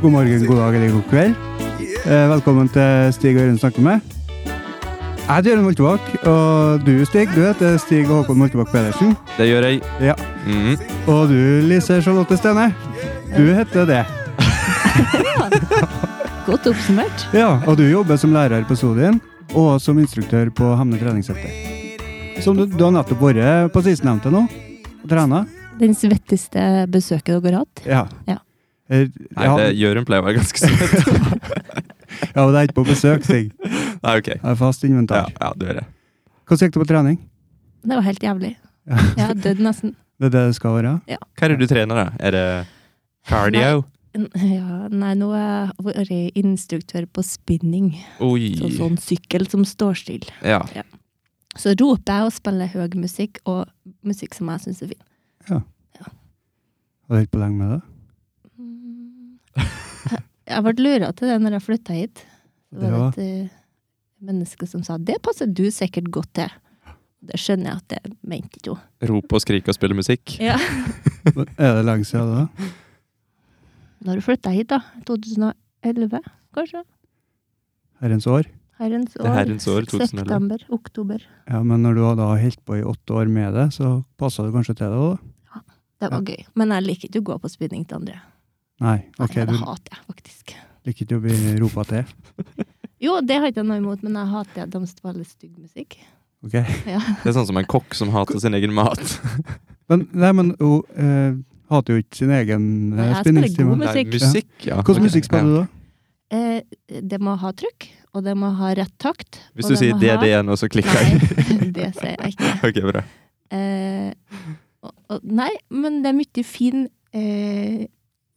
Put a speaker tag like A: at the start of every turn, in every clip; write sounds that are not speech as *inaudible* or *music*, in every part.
A: God morgen, god dag eller god kveld. Eh, Velkommen til Stig og Jørund snakker med. Jeg heter Jørund Moltebakk, og du, Stig, du heter Stig og Håkon Moltebakk Pedersen.
B: Det gjør jeg.
A: Ja.
B: Mhm.
A: Og du, Lise Charlotte Stene, du heter det.
C: Godt oppsummert.
A: Ja, Og du jobber som lærer på Sodien, og som instruktør på Hemne treningssenter. Som du, du har nettopp vært på sistnevnte nå. og Trena.
C: Den svetteste besøket dere har hatt.
A: Ja.
C: Ja.
A: Eh,
B: Nei,
A: ja,
B: det Jørund pleier å være ganske søt.
A: *laughs* ja, og det er ikke på besøk, Stig. Jeg
B: Nei, ok.
A: har fast
B: Ja,
A: inventar.
B: ja, du gjør det.
A: Hvordan gikk det på trening?
C: Det var helt jævlig.
A: Ja.
C: Jeg har dødd nesten.
A: *laughs* Det er det det skal være?
B: Hva er det du trener, da? Er det cardio?
C: N- Ja, nei, nå har jeg vært instruktør på spinning. Så
B: Oi.
C: sånn sykkel som står stille.
B: Ja.
C: Så roper jeg og spiller høy musikk, og musikk som jeg syns er fin.
A: Har du holdt på lenge med det?
C: Mm. Jeg- Jeg ble lura til det når jeg flytta hit.
A: Ja.
C: Det var et eh, menneske som sa 'det passer du sikkert godt til'. Det skjønner jeg at det mente ikke hun.
B: Rope og skrike og spille musikk?
C: Ja.
A: Er det lenge siden da?
C: Når du flytta hit, da? 2011, kanskje?
A: Herrens år?
C: Herrens
B: Det er
C: år.
B: herrens år 2011.
C: September, oktober.
A: Ja, men når du har da holdt på i åtte år med det, så passa du kanskje til det òg, da?
C: Det var gøy. Men jeg liker ikke å gå på spinning til andre.
A: Nei, ok,
C: Nei,
A: du
C: det hater jeg faktisk.
A: liker ikke å bli ropa til.
C: Jo, det har jeg ikke noe imot, men jeg hater at de spiller stygg musikk. *laughs*
A: Ok.
B: Det er sånn som en kokk som hater sin egen mat.
A: Men, nei, men hun eh, hater jo ikke sin egen
C: Nei,
A: eh,
C: jeg spiller god
A: spinningstime.
C: musikk.
B: Nei, musikk, ja.
A: Hvilken musikk spiller du, da?
C: Eh, det må ha trykk, og det må ha rett takt.
B: Hvis
C: og
B: du
C: det
B: sier
C: må
B: det,
C: ha-
B: det igjen, og så klikker jeg.
C: Nei, *laughs* det sier jeg ikke.
B: Ok, bra.
C: Eh, og, og, nei, men det er mye fin eh,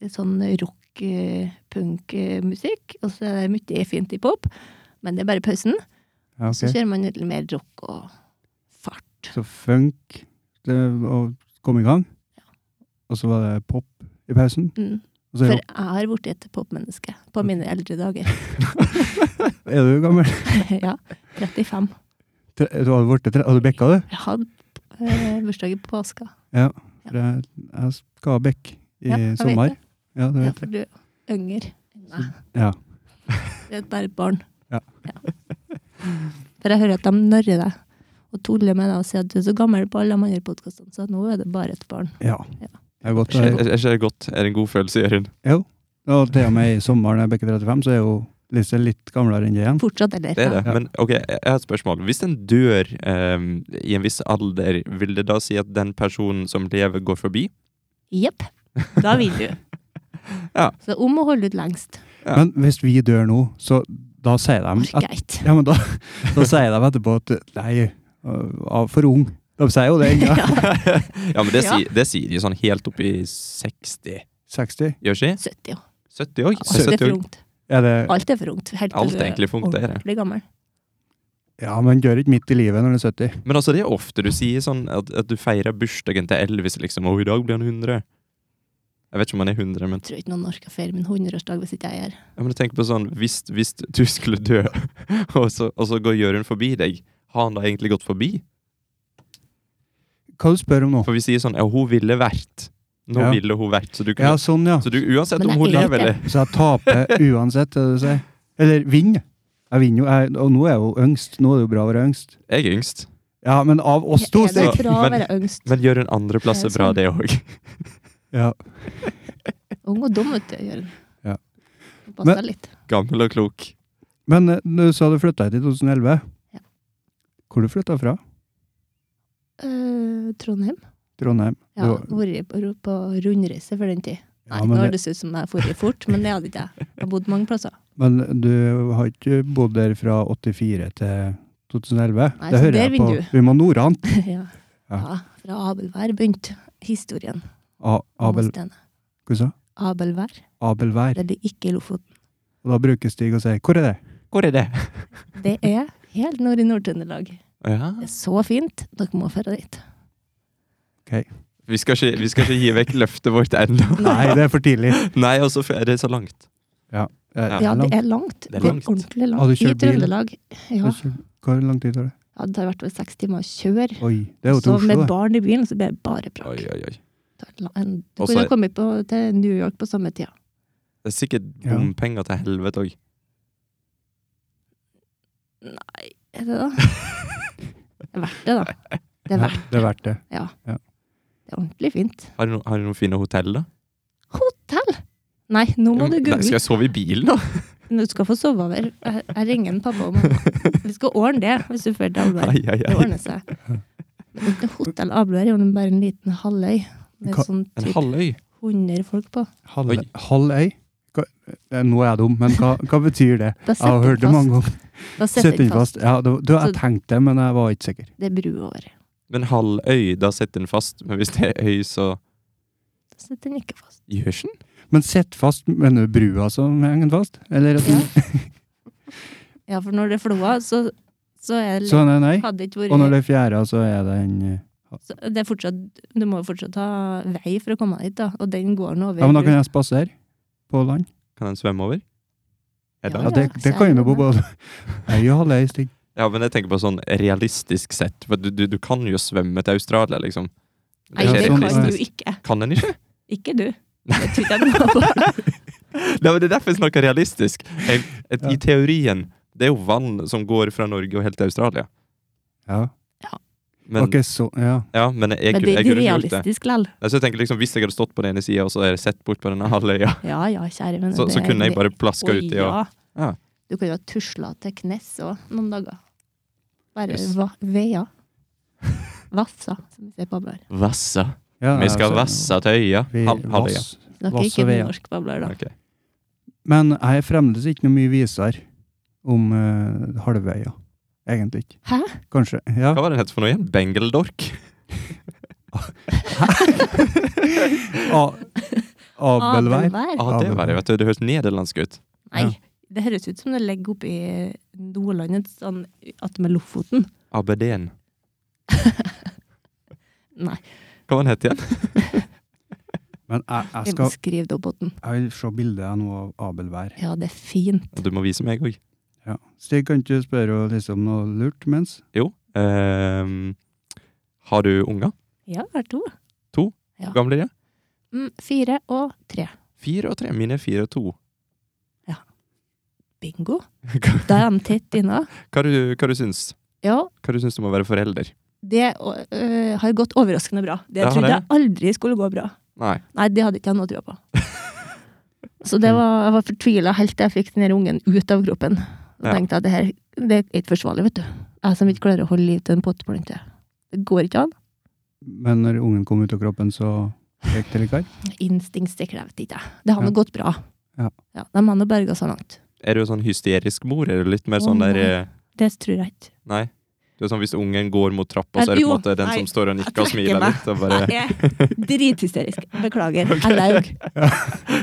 C: sånn eh, rock-punk-musikk, og så er det mye fint i pop, men det er bare pausen.
A: Ja,
C: Så
A: ok.
C: kjører man litt mer rock og fart.
A: Så funk det, og kom i gang. Og så var det pop i pausen.
C: Mm.
A: Og så
C: For
A: er,
C: jeg har blitt et popmenneske på mine eldre
A: *laughs*
C: dager. *laughs*
A: er du gammel?
C: ja, 35.
A: Tre- Du har vært tre- har du bekka, du?
C: Jeg hadde eh, bursdag i påska.
A: For jeg, jeg skal ha bekk i
C: Ja, jeg vet
A: sommer.
C: det.
A: Ja, du
C: Ja,
A: vet det.
C: for du er yngre. Nei,
A: Ja.
C: du er bare et barn.
A: Ja.
C: For jeg hører at de narrer deg og tuller med deg og sier at du er så gammel på alle de andre podkastene, så nå er det bare et barn.
A: ja.
C: Ja.
A: Det er godt å
B: Er
A: høre.
B: er ikke det godt? Er det en god følelse, Jørund?
A: Og til og med i sommer når jeg bikker 35, så er jo Lise litt gamlere enn det igjen.
C: Fortsatt, eller?
B: Det er det.
A: Ja.
B: Men ok, jeg har et spørsmål. Hvis en dør ehm, i en viss alder, vil det da si at den personen som lever, går forbi?
C: Jepp. Da vil
A: *laughs*
C: du.
B: Ja.
C: Så om å holde ut lengst.
B: Ja.
A: Men hvis vi dør nå, så da sier de
C: Orker
A: at,
C: jeg ikke.
A: Ja, men da, *laughs* da sier de etterpå at Nei, øh, for ung. De sier jo det
B: *laughs*
A: ennå.
B: Ja, men det,
C: Ja.
B: sier- det sier de sånn helt opp i 60,
A: 60.
B: gjør ikke?
C: 70 år.
B: 70 òg?
C: Alt er for ungt.
A: Er det,
C: *laughs* Alt er for ungt. Helt til
B: Alt
C: du
B: er egentlig for ungt, det er det.
C: ordentlig gammel.
A: ja, men dør ikke midt i livet når du er 70.
B: Men altså, det er ofte du sier sånn at, at du feirer bursdagen til Elvis, liksom, og i dag blir han 100. Jeg vet ikke om han er 100, men,
C: Jeg tror ikke noen orker å feire min 100-årsdag hvis ikke jeg er her.
B: ja, men tenk på sånn Hvis, hvis du skulle dø, *laughs* og så, og så går Jørund forbi deg, har han da egentlig gått forbi?
A: Hva du spør om nå?
B: For vi sier sånn Ja, hun ville vært. Nå
A: Ja.
B: ville hun vært. Så du,
A: Ja,
B: kunne,
A: sånn, ja.
B: så du uansett
C: Men
B: om
C: det
B: hun
C: er
B: lever eller
A: Så jeg
B: *laughs*
A: taper uansett, er det du sier. Eller vinner. Jeg vinner jo. Jeg, og nå er jeg jo yngst. Nå er det jo bra å være yngst.
B: Jeg er yngst.
A: Ja, men av oss to,
C: er det
A: Stig.
C: fra å
B: Men-
C: være yngst?
B: Men Jørund andreplass er
C: Det er
B: bra,
C: sant.
B: det òg.
A: Ja.
C: Ung og dum, vet du, Jørund.
A: Ja.
C: Pass
A: Men-
C: deg litt.
B: *laughs* Gammel og klok.
A: Men eh, du sa du flytta hit i 2011.
C: Ja.
A: Hvor du flytta fra?
C: Eh, Trondheim?
A: Trondheim.
C: Ja,
A: Du-
C: vært på- på rundreise for den tid. Nei,
A: Ja, men
C: nå
A: det-
C: høres det ut som jeg har vært fort, men det hadde ikke jeg. Jeg har bodd mange plasser.
A: Men du har ikke bodd der fra 84 til 2011?
C: Nei, så der vinner du.
A: Vi må nordant.
C: ja.
A: *laughs* Ja.
C: ja, fra Abelvær begynte historien.
A: A-
C: om
A: Abel,
C: Åstene.
A: hva sa?
C: Abelvær.
A: Abelvær.
C: Det ligger ikke i Lofoten.
A: Og da bruker Stig å si 'hvor er det?'
B: Hvor er det?
C: Det er helt nord i Nord-Trøndelag.
B: Ja.
C: Det er så fint. Dere må dra dit.
B: Vi, skal ikke, vi skal ikke gi vekk løftet vårt *laughs* ennå.
A: Nei, det er for tidlig.
B: Nei, og så er det så langt.
A: Eh,
C: Ja, det
A: langt.
C: er langt.
B: Det er
C: Det er
B: langt.
C: ordentlig
A: Har du
C: langt. I
A: kjørt bil?
C: Trøndelag. Ja,
A: Hvor lang tid tar det?
C: ja, det har vært over seks timer å kjøre.
A: Oi, det er jo til
C: Så med
A: Oslo, det.
C: barn i bilen, så blir det bare
B: Oi,
C: brakk.
B: oi, oi.
C: Det er la- en- Du
B: Og så
C: kunne
B: er-
C: kommet på, til New York på samme tida.
B: Det er sikkert
A: Ja.
B: bompenger til helvete òg.
C: Er
B: *laughs*
C: det da? Det er verdt det, da. Det er verdt
A: Det er verdt det.
C: det. er Ordentlig fint.
B: Har du, no- har du noen fine hotell, da?
C: Hotell! Nei, nå må du
B: Mm, Nei,
C: google.
B: skal jeg sove i bilen,
C: *laughs*
B: da?
C: Du skal få sove over. Jeg, jeg ringer en pappa og mamma. Vi skal
B: *laughs*
C: ordne det, hvis du føler det alvor.
B: Ai, ai,
C: Det
B: ai.
C: ordner seg. Men et Hotell Abu er jo bare en liten halvøy. Med
A: Hva-
C: sånn
B: En
C: typ
B: halvøy?
C: 100 folk på.
A: Halv,
B: Oi.
A: halv ei? Hva, eh, nå er jeg dum, men hva, hva betyr det?
C: Da
A: Jeg har
C: setter
A: hørt det
C: den fast.
A: mange ganger.
C: Da
A: Sett
C: setter
A: den
C: den fast.
A: fast. Ja, det, var- det, var- jeg
C: Så-
A: tenkte det, men jeg var ikke sikker.
C: Det er bru over.
B: Men halvøy, da sitter den fast. Men hvis det er øy, så
C: Da setter den ikke fast.
B: gjør den
A: Men sett fast, mener du brua som henger fast? Eller at
C: Ja.
A: den, *laughs*
C: Ja, for når det er floa, så, så er det
A: Sånn er nei.
C: Hadde ikke vært
A: Og når det er fjæra, så er det en eh,
C: så det er fortsatt, Du må jo fortsatt ha vei for å komme dit, da. Og den går nå over.
A: Ja, men da kan jeg spasere på land.
B: Kan den svømme over? Er
C: Ja,
A: Ja,
B: den-
A: det, det kan jo på både Jeg gjør halv ei stikk.
B: ja, men jeg tenker på sånn realistisk sett. For du, du, du kan jo svømme til Australia, liksom.
C: Nei,
A: Ja,
C: det
A: sånn-
C: kan du
A: ja.
C: ikke.
B: Kan den ikke?
C: Ikke
B: *laughs*
C: du. Det tror ikke jeg noe på.
B: Nei, men det er derfor jeg snakker realistisk. Jeg, et,
A: Ja.
B: I teorien, det er jo vann som går fra Norge og helt til Australia.
A: Ja.
B: Men,
A: ok, så Ja.
B: ja, men jeg, jeg,
C: Men det er
B: jeg,
C: ikke
B: kunne ikke gjort det.
C: realistisk likevel.
B: Nei, Så jeg tenker liksom, Hvis jeg hadde stått på den ene sida og så hadde jeg sett bort på denne halvøya,
C: Ja ja, kjære venn.
B: så, så kunne jeg bare plaska
C: Oi,
B: uti og Ja.
C: Du kan jo ha tusla til knes òg, noen dager. Bare
B: Yes.
C: va veia. Vassa, som vi sier på Bablar.
B: Vassa.
A: ja
B: Vi skal
A: altså,
B: vassa til øya.
A: vi-
B: Hal- Halvøya.
A: vass.
C: Dere er
A: Vass
C: ikke
A: og veia.
C: norsk Bablar, da.
B: Ok.
A: Men jeg er fremdeles ikke noe mye visere om uh, halvøya. Egentlig ikke.
C: Hæ?
A: Kanskje. Ja.
B: Hva var den het for noe igjen? Bengeldork?
A: A- Abelvær.
C: Abelvær?
B: Ah, det var det, vet du. Det høres nederlandsk ut.
C: Nei.
A: Ja.
C: Det høres ut som det ligger oppe i Nordland, et sånn attmed Lofoten.
B: Aberdeen.
C: Nei,
B: Hva var den het igjen?
A: Men jeg, jeg
C: jeg
A: skal
C: må skrive det opp på den.
A: Jeg vil se bildet jeg nå av Abelvær.
C: Ja, det er fint.
B: Du må vise meg òg.
A: Ja. Stig, kan ikke du spørre henne liksom noe lurt mens?
B: Jo. ehm, har du unger?
C: Ja, jeg har to. Ja.
B: Hvor gamle er de?
C: Mm, fire og tre.
B: Fire og tre. Mine er fire og to.
C: Bingo.
B: Hva,
C: Da er de tett inne.
B: hva, du, hva du syns
C: Ja,
B: Hva du syns om å være forelder?
C: det øh, har gått overraskende bra. Det
B: Ja, har
C: trodde
B: det?
C: jeg aldri skulle gå bra.
B: Nei.
C: Nei, det hadde ikke jeg noe trua på. Så det var, jeg var fortvila helt til jeg fikk den her ungen ut av kroppen. Og
B: Ja.
C: tenkte at det her det er ikke forsvarlig, vet du. Jeg som ikke klarer å holde liv til en potteplante. Det går ikke an.
A: Men når ungen kom ut av kroppen, så gikk det litt her.
C: Instinkt det krever ikke jeg. Det har nå
A: Ja.
C: gått bra.
A: Ja.
C: De har nå berga så langt.
B: Er du sånn hysterisk mor? Er du litt mer
C: Å,
B: sånn der
C: nei.
B: eh,
C: Det tror jeg ikke.
B: Nei? Du er sånn Hvis ungen går mot trappa, så er det på en
C: Jo,
B: måte den
C: nei.
B: som står og
C: Jeg
B: nikker og
C: trekker
B: smiler
C: meg.
B: litt. Og bare,
C: Jeg
A: *laughs*
C: er drithysterisk. Beklager. Jeg laug.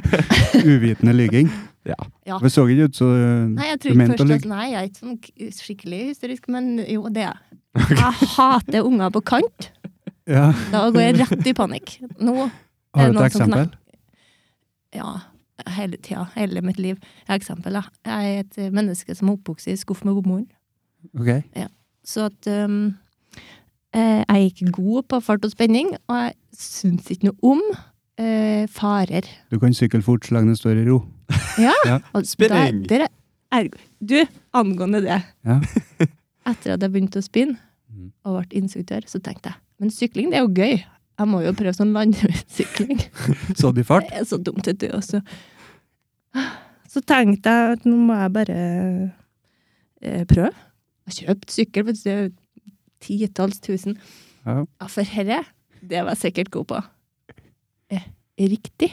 A: Uvitende *laughs* lyging.
B: ja.
C: Ja.
A: Det så ikke ut, så
C: Nei, jeg
A: Du
C: tror ikke
A: mente å
C: først
A: lyg-
C: at Nei, jeg er ikke sånn k- skikkelig hysterisk, men jo, det er jeg. Jeg hater unger på kant.
A: ja.
C: Da går jeg rett i panikk. Nå
A: Har
C: Er det
A: du
C: noen
A: et
C: som
A: eksempel?
C: Ja. Hele tida. Hele mitt liv. Jeg er eksempel, da. Jeg er et eh, menneske som er oppvokst i skuff med bomoren.
A: Ok.
C: Så at um, eh, Jeg er ikke god på fart og spenning, og jeg syns ikke noe om eh, farer.
A: Du kan sykle fort så lenge det står i ro.
C: Og
B: Spinning!
C: Der, der er, ergo- du, angående det.
A: Ja.
C: *laughs* Etter at jeg begynte å spinne
A: Mm.
C: og ble instruktør, så tenkte jeg men sykling det er jo gøy. Jeg må jo prøve sånn landeveissykling.
A: Så de fart.
C: Det er så dumt, vet du. Og så, så tenkte jeg at nå må jeg bare eh, prøve. Jeg kjøpte sykkel for det er jo titalls tusen.
A: Ja.
C: Ja, for herre, det var jeg sikkert god på. Eh, riktig.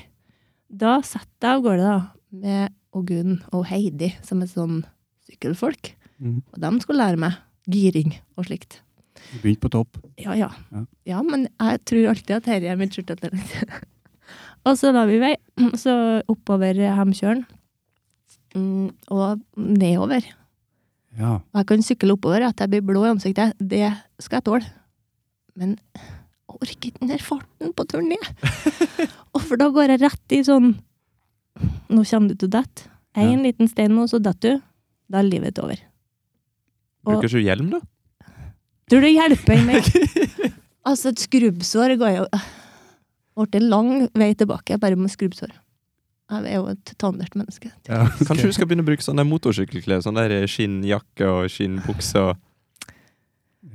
C: Da satt jeg av gårde da, med og Gunn og Heidi, som er sånn sykkelfolk.
A: Mhm.
C: Og de skulle lære meg giring og slikt.
A: Du Begynte på topp.
C: Ja, ja.
A: Ja.
C: Ja, men jeg tror alltid at dette er mitt skjortetalent. *laughs* og så la vi vei, Mm, så oppover Hemkjølen. Mm, og nedover.
A: Ja.
C: Og jeg kan sykle oppover at jeg blir blå i ansiktet. Det skal jeg tåle. Men jeg orker ikke den der farten på turen ned. og for da går jeg rett i sånn Nå kommer du til å dette. Én liten stein nå, så detter du. Da er livet over. Og-
B: Bruker ikke du hjelm, da?
C: Tror det hjelper meg? *laughs* altså, et skrubbsår går jo Ble lang vei tilbake bare med skrubbsår. Jeg er jo et tannert menneske.
A: Ja, ok.
B: Kanskje du skal begynne å bruke sånne der motorsykkelklær? Sånne der skinnjakke og skinnbukse
C: *laughs*
B: og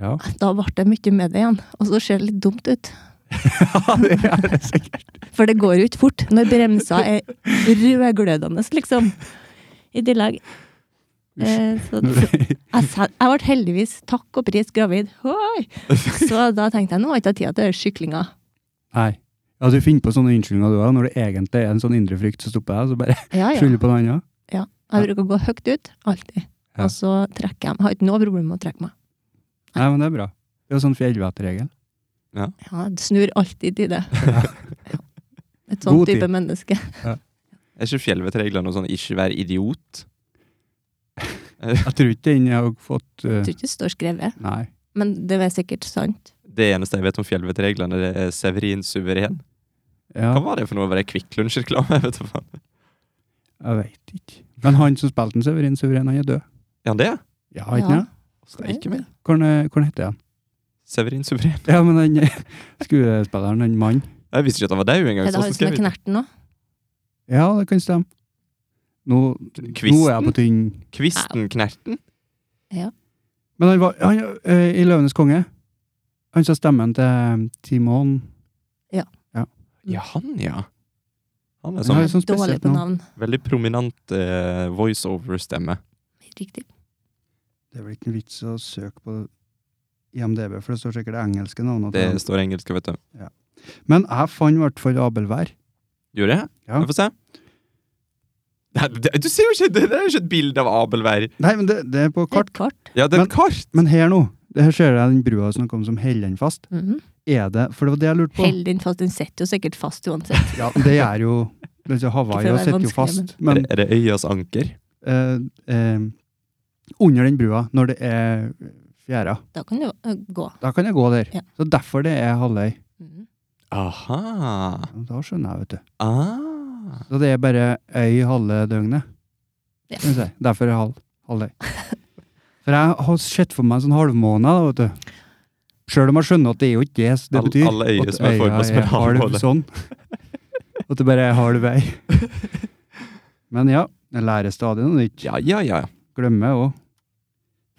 A: Ja.
C: Da ble det mye med det igjen, og så ser det litt dumt ut.
A: ja, det er det sikkert.
C: For det går jo ikke fort når bremsa er rødglødende, liksom. I tillegg. Eh, så, så, jeg, sa- jeg ble heldigvis, takk og pris, gravid. Oi! Så da tenkte jeg nå har jeg ikke tida til å gjøre syklinga.
A: Nei. Ja, du finner på sånne unnskyldninger du òg, når det egentlig er en sånn indre frykt som stopper deg, så bare
C: Ja, ja.
A: skylder på noe annet.
C: Jeg bruker å gå høyt ut, alltid.
A: Ja.
C: Og så trekker jeg meg. Har ikke noe problem med å trekke meg.
A: Nei, men det er bra. Det er jo sånn fjellvettregel.
C: Ja, jeg snur alltid i det.
A: Ja.
C: Ja. Et sånn
A: God tid.
C: type menneske.
B: Er ikke fjellvettreglene noe sånn 'ikke vær idiot'?
A: Jeg tror ikke den har fått eh,
C: Jeg tror ikke det står skrevet,
A: Nei.
C: men det er sikkert sant.
B: Det eneste jeg vet om fjellvettreglene, det er Severin suveren.
A: Ja,
B: Hva var det for noe? Var det Kvikk *laughs* Lunsj-reklame? Vet du faen.
A: jeg veit ikke. Men han som spilte den Severin Suveren, han er død.
B: Ja, det?
A: Ja, ikke sant?
B: Steike meg.
A: Hvordan eh, hvordan heter han? *laughs*
B: Severin suveren.
A: Ja, men den skuespilleren, den mannen
B: Jeg visste ikke at han var dau engang.
C: Er det
B: så
A: Sånn
C: han som
B: skrev
C: er
B: jeg-
C: knerten nå?
A: Ja, det kan stemme. Nå, nå er jeg
B: Kvisten?
A: på tynn
B: Kvisten Knerten?
A: Men han var han, eh, i Løvenes konge. Han sa stemmen til eh, Timon.
B: Ja, han, ja.
A: Han
B: Han er
A: har
B: sånn
A: jo sånn
C: Dårlig
A: spesielt
C: på
A: navn.
C: navn.
B: veldig prominent eh, voiceover-stemme.
C: Riktig.
A: Det er vel ikke noe vits å søke på IMDb, for det står sikkert det engelske navnet.
B: Det
A: til han.
B: står engelsk, vet du.
A: Men jeg fant i hvert fall Abelvær.
B: Gjorde jeg?
A: Ja.
B: Vi får se. Nei, det, du ser jo ikke, det, det er jo ikke et bilde av Abelvær.
A: Nei, men det, det er på
C: Det er
A: kart.
C: et kart.
B: Ja, det er
A: Men-
B: et kart!
A: Men her nå, det her ser jeg den brua som kom som heller den fast.
C: Mhm.
A: Er det For det var det jeg lurte på.
C: Held den fast. Den sitter jo sikkert fast uansett.
A: Ja, det gjør jo
C: *laughs*
A: altså, Hawaii
C: Ikke for å
A: og
C: være
A: sitter jo
C: vanskelig,
A: fast. Men
B: er, det, er det øyas anker?
A: eh, eh, under den brua, når det er fjæra,
C: Da kan det jo ø, gå.
A: da kan jeg gå der.
C: Ja.
A: Så derfor det er halvøy.
C: Mhm.
B: Aha.
A: Ja, Da skjønner jeg, vet du.
B: Ah.
A: Så det er bare øy halve døgnet.
C: Ja. *laughs*
A: Skal vi si. Derfor er halv, halv øy. For jeg har sett for meg en sånn halvmåne, da, vet du. Sjøl om jeg skjønner at det er jo ikke det det
B: Alle-
A: betyr.
B: alle øyer
A: at
B: som er formet som en
A: øya er halv
B: halvmåne.
A: Sånn.
B: *laughs*
A: At det bare er halv øy. Men ja, jeg lærer stadig noe nytt.
B: Ja, ja, ja.
A: Glemmer òg.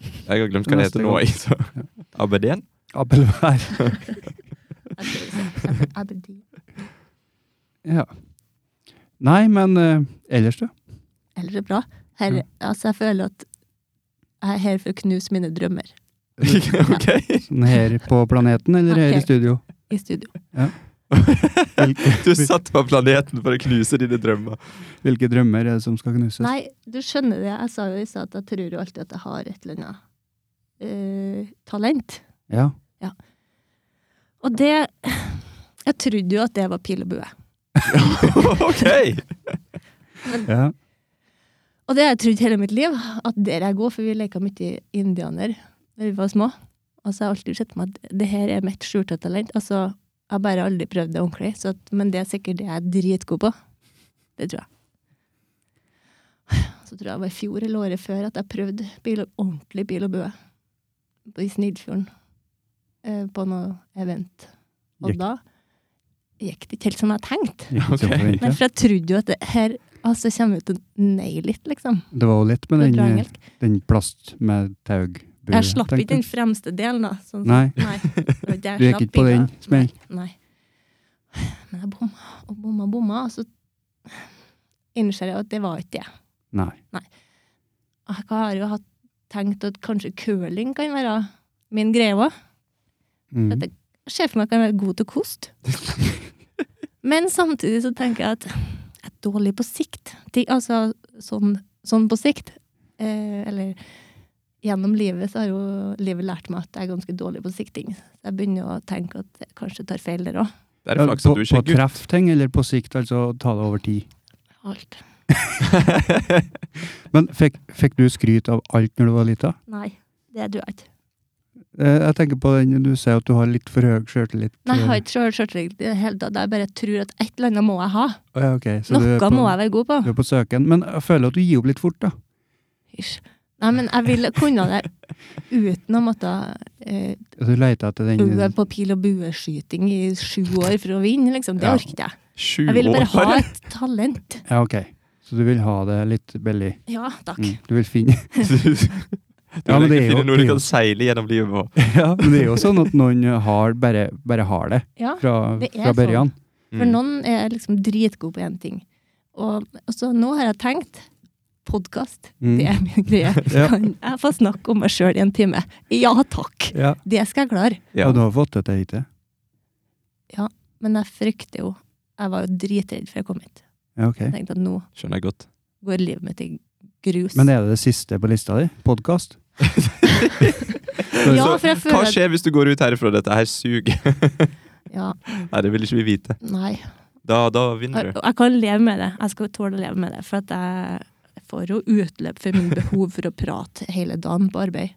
B: Jeg har glemt hva det
A: Neste
B: heter nå.
A: gang.
B: jeg, så. Aberdeen?
A: Appelvær.
C: Jeg skal se. Ab- Aberdeen.
A: Ja. Nei, men eh, ellers, du.
C: Eller det er bra. Her,
A: Ja.
C: altså, jeg føler at jeg er her for å knuse mine drømmer
B: *laughs* ok.
A: Sånn her på planeten, eller her
C: Ok.
A: i studio?
C: i studio.
B: Du satt på planeten for å knuse dine
A: *laughs*
B: drømmer.
A: Hvilke drømmer er det som skal knuses?
C: Nei, du skjønner det. Jeg sa jo i stad at jeg tror jo alltid at jeg har et eller annet eh, talent.
A: Ja.
C: Og det Jeg trodde jo at det var pil og bue.
B: ok!
A: ja.
C: Og det har jeg trodd hele mitt liv, at der jeg går, for vi leka mye indianer da vi var små. Og så har jeg alltid sett meg at det her er mitt skjulte talent. Altså, jeg har bare aldri prøvd det ordentlig, så at, men det er sikkert det jeg er dritgod på. Det tror jeg. Så tror jeg det var i fjor eller året før at jeg prøvde bil og, ordentlig bil og bue på- i Snillfjorden. eh, På noe event. Og
A: Gikk-
C: da gikk det ikke helt som jeg tenkte.
A: Ikke som
B: Ok.
A: forventet.
C: Nei, for jeg trodde jo at det her altså, kommer ut en neglit, liksom.
A: Det var jo lett med
C: For å dra
A: den, eh,
C: engelsk.
A: den plast med taug.
C: Jeg slapp ikke den fremste delen, da. Sånn,
A: Nei.
C: nei. Det var jeg
A: *laughs* Du gikk
C: slapp
A: ikke på
C: i, da.
A: den smellen?
C: Nei. nei. Men jeg bomma og bomma og bomma, og så innser jeg at det var ikke det.
A: Nei.
C: Jeg har jo hatt, tenkt at kanskje curling kan være min greie òg.
A: Mm.
C: Dette- Jeg ser for meg at jeg kan være god til kost. Men samtidig så tenker jeg at jeg er dårlig på sikt. Ti- Altså sånn, sånn på sikt. Eh, eller gjennom livet så har jo livet lært meg at jeg er ganske dårlig på sikting. Så jeg begynner jo å tenke at jeg kanskje tar feil der òg.
B: Det er flaks
A: på
B: at du
A: på
B: ikke er gutt.
A: treffting eller på sikt, altså ta det over tid.
C: Alt.
A: Men fikk, fikk du skryt av alt når du var lita?
C: Nei, det tror jeg ikke.
A: Eh, Jeg tenker på den du sier at du har litt for høy sjøltillit.
C: Nei, jeg har ikke sjøl sjøltillit i det hele tatt. Jeg bare tror at et eller annet må jeg ha.
A: Å ja, ok, så du er
C: Noe
A: på-
C: må jeg være god på.
A: Du er på søken. Men jeg føler at du gir opp litt fort, da.
C: Hysj. Nei, men jeg ville kunne det uten å måtte eh,
A: Altså, Du leter etter den
C: øve på pil- og bueskyting i sju år for å vinne, liksom. Det
A: Ja.
C: orket jeg.
B: *laughs* Sju
C: Jeg vil bare
B: år?
C: ha et talent.
A: Ja, ok. Så du vil ha det litt billig.
C: Ja, takk.
A: Mm. Du vil finne
B: *laughs*
A: *laughs*
B: Du, du
A: Ja, men
B: vil
A: det er
B: ikke
A: jo-
B: finne noe
A: det
B: du
A: er jo-
B: kan seile gjennom livet på.
A: Ja, men det er jo sånn at noen har bare, bare har det
C: Ja,
A: fra,
C: Det er sånn.
A: fra børjan.
C: For
B: Mm.
C: noen er liksom dritgod på én ting. Og og så nå har jeg tenkt podkast.
A: Mm.
C: Det er min greie.
A: Ja.
C: Kan jeg få snakke om meg sjøl i en time? Ja takk!
A: Ja.
C: Det skal jeg klare.
B: Ja.
A: Og du har fått det til hittil?
C: Men jeg frykter jo Jeg var jo dritredd før jeg kom hit.
A: Ja, ok.
C: Jeg tenkte at nå
B: Skjønner jeg
A: *laughs*
B: godt.
C: går livet mitt i grus.
A: Men er det det siste på lista di? Podkast?
C: ja,
B: Så,
C: for
B: Hva
C: jeg føler at
B: skjer hvis du går ut herifra? Dette her suger. *laughs*
C: ja,
B: Nei, det vil ikke vi vite.
C: Nei.
B: Da, da
C: Jeg,
B: vinner du.
C: jeg kan leve med det. Jeg skal tåle å leve med det. For at jeg får jo utløp for min behov for å prate hele dagen på arbeid.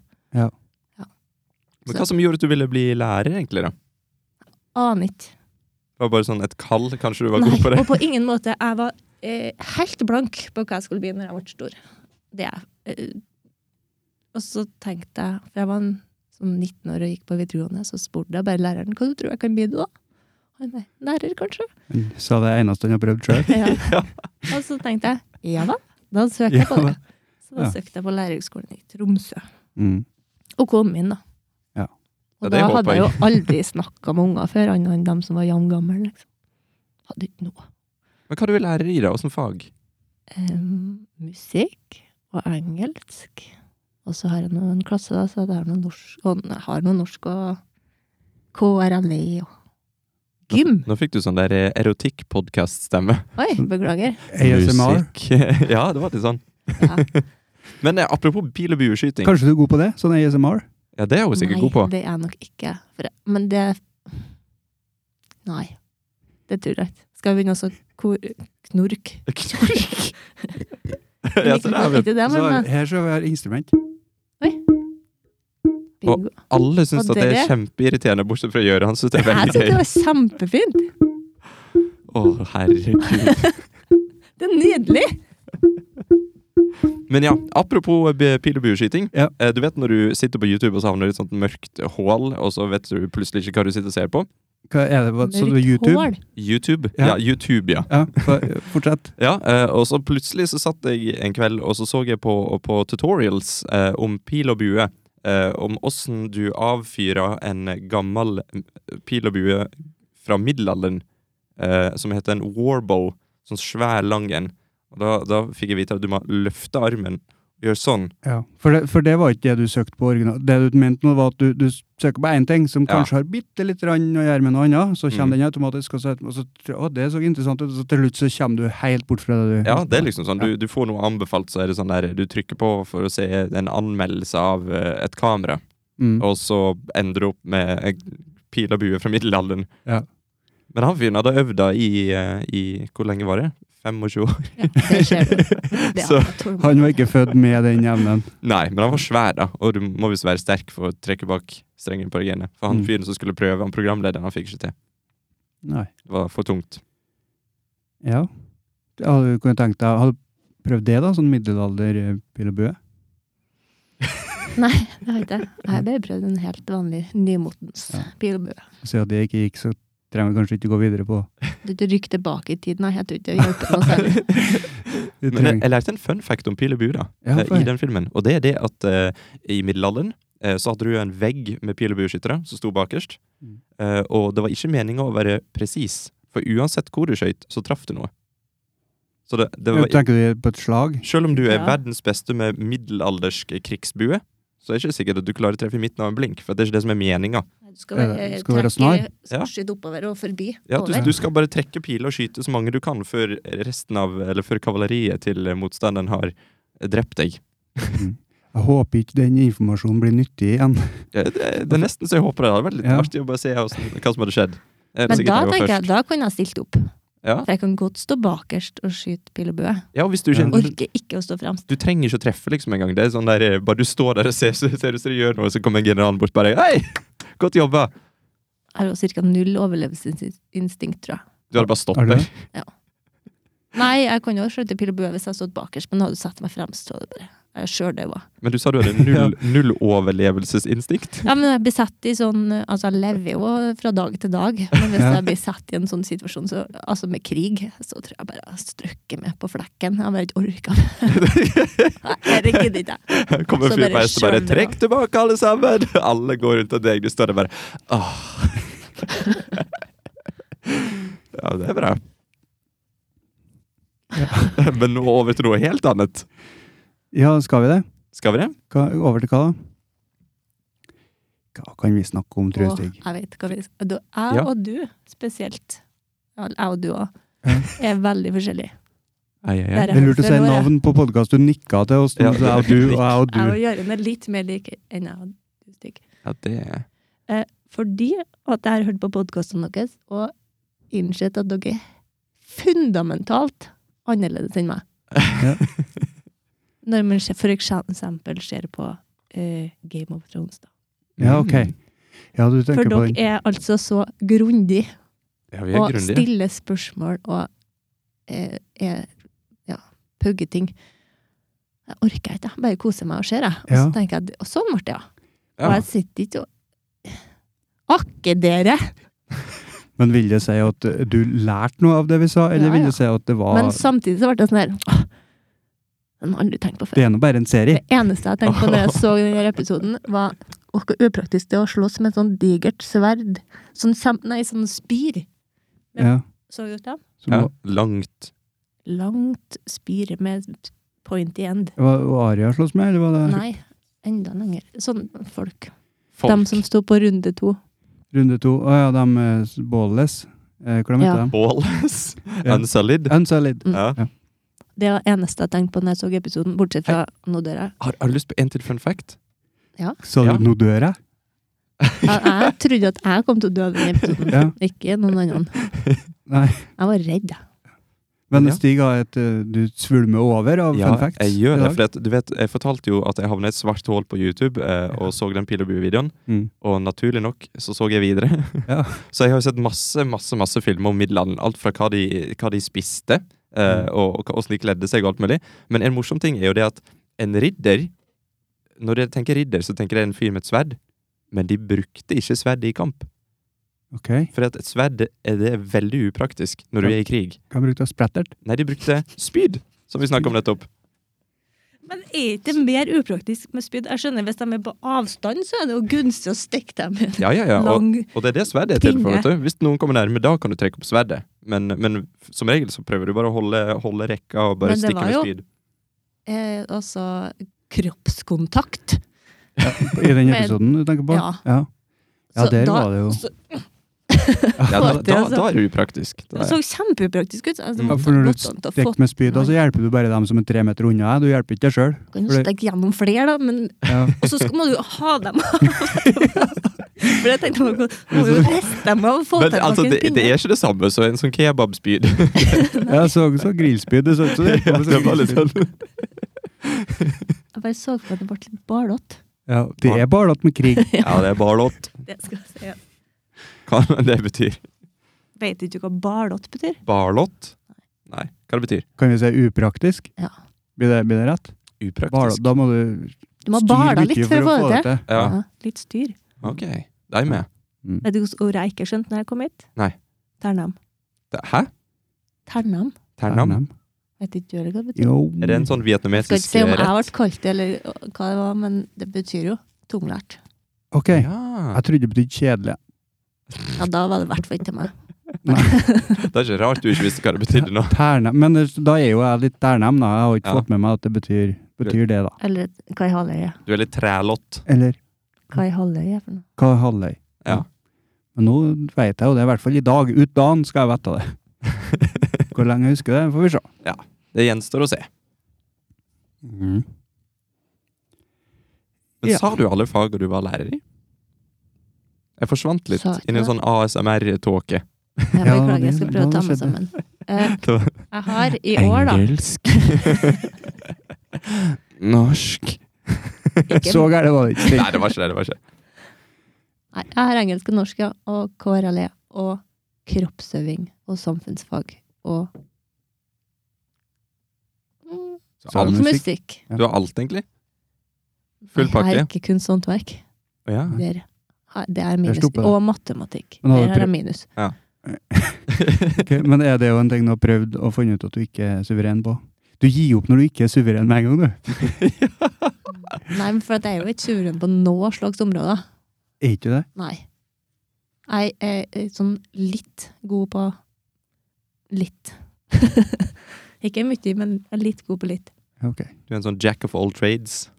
B: Men hva som gjorde at du ville bli lærer, egentlig? da?
C: Aner ikke.
B: Det var bare sånn et kall? Kanskje du var
C: Nei,
B: god på det?
C: og på ingen måte. Jeg var eh, helt blank på hva jeg skulle bli når jeg ble stor. Det er jeg. Eh, og så tenkte jeg, for jeg var en, sånn 19 år og gikk på videregående, så spurte jeg bare læreren hva du tror jeg kan bli da. Han sa lærer,
B: *laughs*
C: kanskje.
A: Sa det eneste han har prøvd sjøl?
C: Ja. og så tenkte jeg ja da. Da søkte jeg på
A: Ja da.
C: det. Så da
A: Ja.
C: søkte jeg på lærerhøgskolen i Tromsø.
A: *laughs* Mm.
C: Og kom inn, da.
A: Ja.
B: Ja,
C: Og
B: det
C: da
B: er godt
C: hadde jeg jo aldri snakka med unger før, annet enn dem som var jevn gamle. Liksom. Hadde ikke noe.
B: Men hva du vil lære i da? Åssen fag?
C: Em, musikk og engelsk. Og så har jeg noen klasse, da, så jeg har noe norsk og, jeg har noe norsk og KRLE og gym.
B: Nå fikk du sånn der eh, erotikkpodkast-stemme.
C: Oi,
B: *laughs*
C: beklager.
A: ASMR?
B: Musikk. *laughs* Ja, det var litt sånn.
C: Ja.
B: Men eh, apropos bil- og bueskyting.
A: Kanskje du er god på det? Sånn ASMR?
B: Ja, det er hun sikkert god på.
C: Nei, det er jeg nok ikke. For, jeg- men det Nei. Det tror jeg ikke. Skal vi begynne å kor- knork? *laughs*
B: Knork! *laughs* ja, så det er vel-
C: Ikke det,
A: Så
C: men eh,
A: her så har jeg instrument.
C: bingo.
B: alle syns
C: Og
B: at det er
C: dere?
B: kjempeirriterende, bortsett fra Gjøran. Han syns det er
C: Jeg
B: veldig
C: syns det
B: gøy.
C: var kjempefint.
B: Å, herregud.
C: Det er nydelig.
B: Men ja, apropos b- pil- og bueskyting.
A: Ja.
B: Eh, Du vet når du sitter på YouTube og så havner du i et sånt mørkt hål, og så vet du plutselig ikke hva du sitter og ser på?
A: Hva er det? Hva, så det er
C: Mørkt
A: YouTube?
C: hår.
B: YouTube. Ja,
A: Ja.
B: YouTube, ja.
A: Ja, for- fortsett.
B: Ja, eh, og så plutselig så satt jeg en kveld og så så jeg på, på tutorials eh, om pil og bue. Eh, om åssen du avfyrer en gammel eh, pil og bue fra middelalderen eh, som heter en warbow. Sånn svær, lang en. Og da, da fikk jeg vite at du må løfte armen og gjøre sånn.
A: Ja. For, det, for det var ikke det du søkte på originalt. Det du mente nå, var at du, du søker på én ting som
B: Ja.
A: kanskje har bitte litt rann å gjøre med noe annet, så
B: Mm.
A: kommer den automatisk, og så, og så tr- å, det så interessant ut, og så til slutt så kommer du helt bort fra det du
B: Ja, det er liksom sånn. Du, du får noe anbefalt, så er det sånn der Du trykker på for å se en anmeldelse av eh, et kamera,
A: Mm.
B: og så ender du opp med en pil og bue fra middelalderen.
A: Ja.
B: Men han fyren hadde øvd da i, eh, i Hvor lenge var det? 25 år? *laughs*
C: Ja, det skjer. det. Det er
B: Så-
C: akkurat hormoner.
A: Han var ikke født med den evnen.
B: Nei, men han var svær, da. Og du må visst være sterk for å trekke bak strengen på genet. For han
A: Mm.
B: fyren som skulle prøve, han programlederen, han fikk ikke til.
A: Nei.
B: Det var for tungt.
A: Ja. Hadde du kunnet tenkt deg Hadde du prøvd det, da? Sånn middelalderpil og bue?
C: *laughs* Nei, det har jeg ikke. Jeg har bare prøvd en helt vanlig nymotens
A: Ja.
C: bilbue.
A: Så at det ikke gikk, så trenger vi kanskje ikke gå videre på
C: Du du rykker tilbake i tid, nei. Jeg tror ikke det hjelper noe
A: *laughs*
C: særlig.
A: Vi
B: Men jeg,
A: trenger-
B: jeg lærte en fun fact om pil og bue, da.
A: Ja,
B: eh,
A: for-
B: i den filmen. Og det er det at eh, i middelalderen eh, så hadde du en vegg med pil- og bueskyttere som sto bakerst.
A: Mm.
B: Eh, og det var ikke meninga å være presis, for uansett hvor du skøyt, så traff du noe. Så det, det var,
A: Tenker du på et slag?
B: *laughs* selv om du er
C: Ja.
B: verdens beste med middelaldersk krigsbue, så er det ikke sikkert at du klarer å treffe i midten av en blink, for det er ikke det som er meninga.
C: Du skal
A: Ja,
C: være,
A: du Eh, skal være snar.
B: Ja.
C: Skyte oppover og forbi.
B: Ja, du,
C: over.
B: du skal bare trekke piler og skyte så mange du kan før resten av, eller før kavaleriet til motstanderen har drept deg.
A: Mm. Jeg håper ikke den informasjonen blir nyttig igjen.
B: Ja, Det, det er nesten så jeg håper det. Det hadde vært litt
A: Ja.
B: artig å bare se hvordan- hva som hadde skjedd. Eh,
C: Men
B: sikkert
C: da
B: jeg var
C: tenker jeg,
B: først.
C: da kunne jeg stilt opp.
B: Ja.
C: For jeg kan godt stå bakerst og skyte bilbue.
B: ja, og hvis du
A: Ja.
B: ikke du,
C: Orker ikke å stå fremst.
B: du trenger ikke å treffe liksom engang. Det er sånn der, eh, bare du står der og ser, så ser du så du gjør noe, så kommer generalen bort bare Hei! Godt jobba!
C: Jeg har jo ca. null overlevelsesinstinkt, tror jeg.
B: Du hadde bare
A: Har
B: stoppet.
A: du det?
C: Nei, jeg kan jo skjøte pil og bue hvis jeg hadde stått bakerst, men hadde du satt meg fremst, så hadde det bare Jeg sjøldaua.
B: Men du sa du hadde
C: *laughs*
B: null, null overlevelsesinstinkt.
C: Ja, men jeg blir satt i sånn Altså, jeg lever jo fra dag til dag, men hvis jeg blir satt i en sånn situasjon, så, altså med krig, så tror jeg bare jeg strøkker meg på flekken. Jeg bare ikke orker det. Nei, Det gidder ikke jeg.
B: Kommer en
C: Så
B: fyr
C: bare
B: på hesten og bare
C: skjønner
B: 'trekk tilbake, alle sammen'! *laughs* Alle går rundt og deg, du står der bare åh. *laughs* Ja, det er bra. *laughs* Men nå over til noe helt annet.
A: Ja, skal vi det?
B: Skal vi det?
A: Hva, over til hva da? Hva kan vi snakke om, tror *laughs* jeg,
C: Og
A: Stig?
C: jeg vet hva vi du,
B: Ja.
C: Jeg og du spesielt, ja, jeg og du òg, er veldig forskjellige.
B: Ai, ai,
C: Der
B: ai.
A: Det er lurt å si
C: Føler jeg.
A: navn på podkast du nikka til, og
B: Ja,
A: stod jeg og du og jeg og
C: Jeg og
A: du.
C: Jørund er litt mer like enn jeg og du, Stig.
B: Ja, det er
C: Fordi at jeg har hørt på podkastene deres og innsett at dere er fundamentalt annerledes enn meg.
A: *laughs* Ja.
C: Når man ser- for eksempel ser på eh, Game of Thrones, da.
A: Ja, ok. Ja, du
C: For
A: tenker på
C: dere
A: den.
C: er altså så grundig
B: Ja, vi er
C: og
B: grundige.
C: stiller spørsmål og eh, er ja, pugger ting. Jeg orker ikke, jeg bare koser meg og ser, jeg. Og så
A: Ja.
C: tenker jeg, og sånn ble det, ja. Og
B: Ja.
C: jeg sitter ikke og Akke dere!
A: Men vil det si at eh, du lærte noe av det vi sa, eller
C: Ja,
A: vil
C: ja.
A: det si at det var
C: Men samtidig så ble det sånn her «Åh, Den har jeg aldri tenkt på før.
A: Det er nå bare en serie.
C: Det eneste jeg tenkte på når jeg så denne episoden, var «Åh, hvor upraktisk det er å slåss med et sånn digert sverd. Sånn, kjem- nei, sånn spir. Ja.
A: Ja.
C: Så du det?
A: Så
B: ja.
A: må-
B: Langt.
C: Langt spir med pointy end.
A: Var var Aria slåss med, eller var det
C: Nei, enda lenger. Sånn folk.
B: Folk.
C: De som sto på runde to.
A: runde to? Å ja, de eh, Båles. Eh, Hva de
C: Ja.
A: heter de?
B: Båles.
A: Ja.
B: Unsolid.
A: Unsolid.
C: Mm.
B: Ja.
C: Det var eneste jeg tenkte på når jeg så episoden, bortsett fra nå dør jeg.
B: Har, har du lyst på en til fun fact?
A: Sa du
B: Ja.
A: 'nå dør jeg'?
C: Jeg, jeg trodde at jeg kom til å dø av den episoden,
A: Ja.
C: ikke noen
B: *laughs*
C: annen.
A: Nei.
C: Jeg var redd, jeg.
A: Men
B: Ja.
A: Stig har et eh, Du svulmer over av
B: Ja,
A: fun facts.
B: jeg
A: i
B: gjør det.
A: dag.
B: For at, du vet, jeg fortalte jo at jeg havna i et svart hull på YouTube eh, og så den Pil og bue-videoen.
A: Mm.
B: Og naturlig nok så så jeg videre.
A: Ja.
B: *laughs* så jeg har jo sett masse masse, masse filmer om Middelalderen. Alt fra hva de, hva de spiste, eh,
A: Mm.
B: og og hvordan de kledde seg, og alt mulig. Men en morsom ting er jo det at en ridder Når jeg tenker ridder, så tenker jeg en fyr med et sverd. Men de brukte ikke sverdet i kamp.
A: Ok.
B: For at et sverd er det er veldig upraktisk når du
A: Ja.
B: er i krig.
A: Hva brukte du? Splattert?
B: Nei, de brukte spyd, som vi snakka om nettopp.
C: Men er ikke det mer upraktisk med spyd? Jeg skjønner, Hvis de er på avstand, så er det jo gunstig å stikke dem i en
B: Ja, ja, ja. Og,
C: lang
B: Og det er det sverdet er til for. vet
C: Pinne.
B: du. Hvis noen kommer nærme, da kan du trekke opp sverdet. Men, men f- som regel så prøver du bare å holde, holde rekka og bare
C: Men det
B: stikke
C: var
B: med
C: jo- *laughs*
B: spyd.
C: eh, Altså kroppskontakt.
A: I den
C: Men-
A: episoden du tenker på?
C: Ja.
A: ja. Ja,
C: Så
A: der
C: da-
A: var det jo
C: Så,
B: Ja, da,
C: det
B: da,
C: altså-
B: da er det upraktisk. Da
C: det
B: er-
C: så kjempeupraktisk ut. Altså,
B: Mm.
A: Ja, for når du
C: godt an til å få-
A: Stikk med spyd, og så hjelper du bare dem som er tre meter unna deg. Du hjelper ikke deg sjøl.
C: Du kan jo
A: for det-
C: stikke gjennom flere, da, men *laughs*
A: Ja.
C: Og så skal- må du jo ha dem For jeg tenkte man må må jo riste dem av og få
B: Men
C: til
B: altså,
C: noen
B: det, det
C: pinner.
B: er ikke det samme som en sånn
C: *laughs*
B: *laughs* kebabspyd.
A: Jeg så, så grillspyd. Det så ut som det.
B: Ja, det var litt sånn.
C: Jeg bare så for meg at det ble litt barlått.
A: Ja, det er bare at med krig.
B: Ja, det er barlått.
C: Det skal jeg si. Jeg
B: Hva *laughs* det betyr?
C: Vet ikke hva barlått betyr?
B: Barlått? Nei, hva det betyr?
A: Kan vi si upraktisk?
C: *laughs* Ja.
A: Blir det, blir det rett? Bare,
B: Upraktisk.
A: da må du
C: Du må
A: styre
C: bala
A: mye
C: litt for å få det til.
B: Ja,
C: Ja, litt styr.
B: ok. De er med.
A: Mm.
C: Vet du hvilket ord jeg ikke skjønte når jeg kom hit?
B: Nei.
C: Ternam.
B: Det- Hæ?
C: Ternam?
B: Ternam?
C: Vet ikke du heller hva det betyr?
A: Jo.
B: Er det en sånn
C: Jeg skal ikke
B: vietnamesisk
C: si om jeg
B: rett?
C: ble kalt det, eller hva det var, men det betyr jo tunglært.
A: Ok.
B: sånn- Ja.
A: Jeg trodde det betydde kjedelig.
C: Ja, da var det i hvert fall ikke til meg.
B: Det er ikke rart du ikke visste hva det betydde nå.
A: Ternem. Men det, da er jo jeg litt ternem, da. Jeg har ikke
B: Ja.
A: fått med meg at det betyr, betyr det, da.
C: Eller hva i halvøye?
B: Du er litt trælått. *laughs*
A: Eller
C: Hva i halvøye er for noe?
A: hva er halvøy?
B: Ja.
A: Men nå veit jeg jo det, i hvert fall i dag. Ut dagen skal jeg vite det. Hvor lenge jeg husker det, får vi se.
B: Det gjenstår å se. Mhm. Men
A: Ja.
B: sa du alle faga du var lærer i? Jeg forsvant litt
C: Sa ikke
B: inn i en
C: det.
B: sånn ASMR-tåke.
C: Jeg
A: Ja,
C: beklager,
A: det-
C: jeg skal prøve å
A: det
C: ta meg
A: skjedde.
C: sammen. Eh,
A: *laughs*
B: Det var-
C: jeg har i år, da
B: *laughs* Norsk
C: ikke,
A: Så gærent var det ikke. Stig.
B: Nei, det var ikke det. det var ikke. det.
C: Nei, Jeg har engelsk og norsk, ja, og KRLE og kroppsøving og samfunnsfag og mm,
A: Så er det
B: Alt.
A: musikk.
C: Musikk.
B: Du har alt, egentlig? Full
C: Nei, Jeg
B: pakke?
C: har ikke kunsthåndverk.
B: Å, Ja.
C: Der, har- det er minus.
A: stopper Mm. det.
C: Og matematikk.
A: Men har du
C: Der har
A: prøv-
C: jeg minus.
A: Ok, Men er det jo en ting du har prøvd og funnet ut at du ikke er suveren på? Du gir opp når du ikke er suveren med en gang, du.
C: Nei, men for at jeg er jo ikke suveren på noe slags områder.
A: Er ikke det?
C: Nei. Jeg er eh, sånn litt god på litt. *laughs* ikke mye, men jeg er litt god på litt.
A: Ok.
B: Du er en sånn jack of all trades.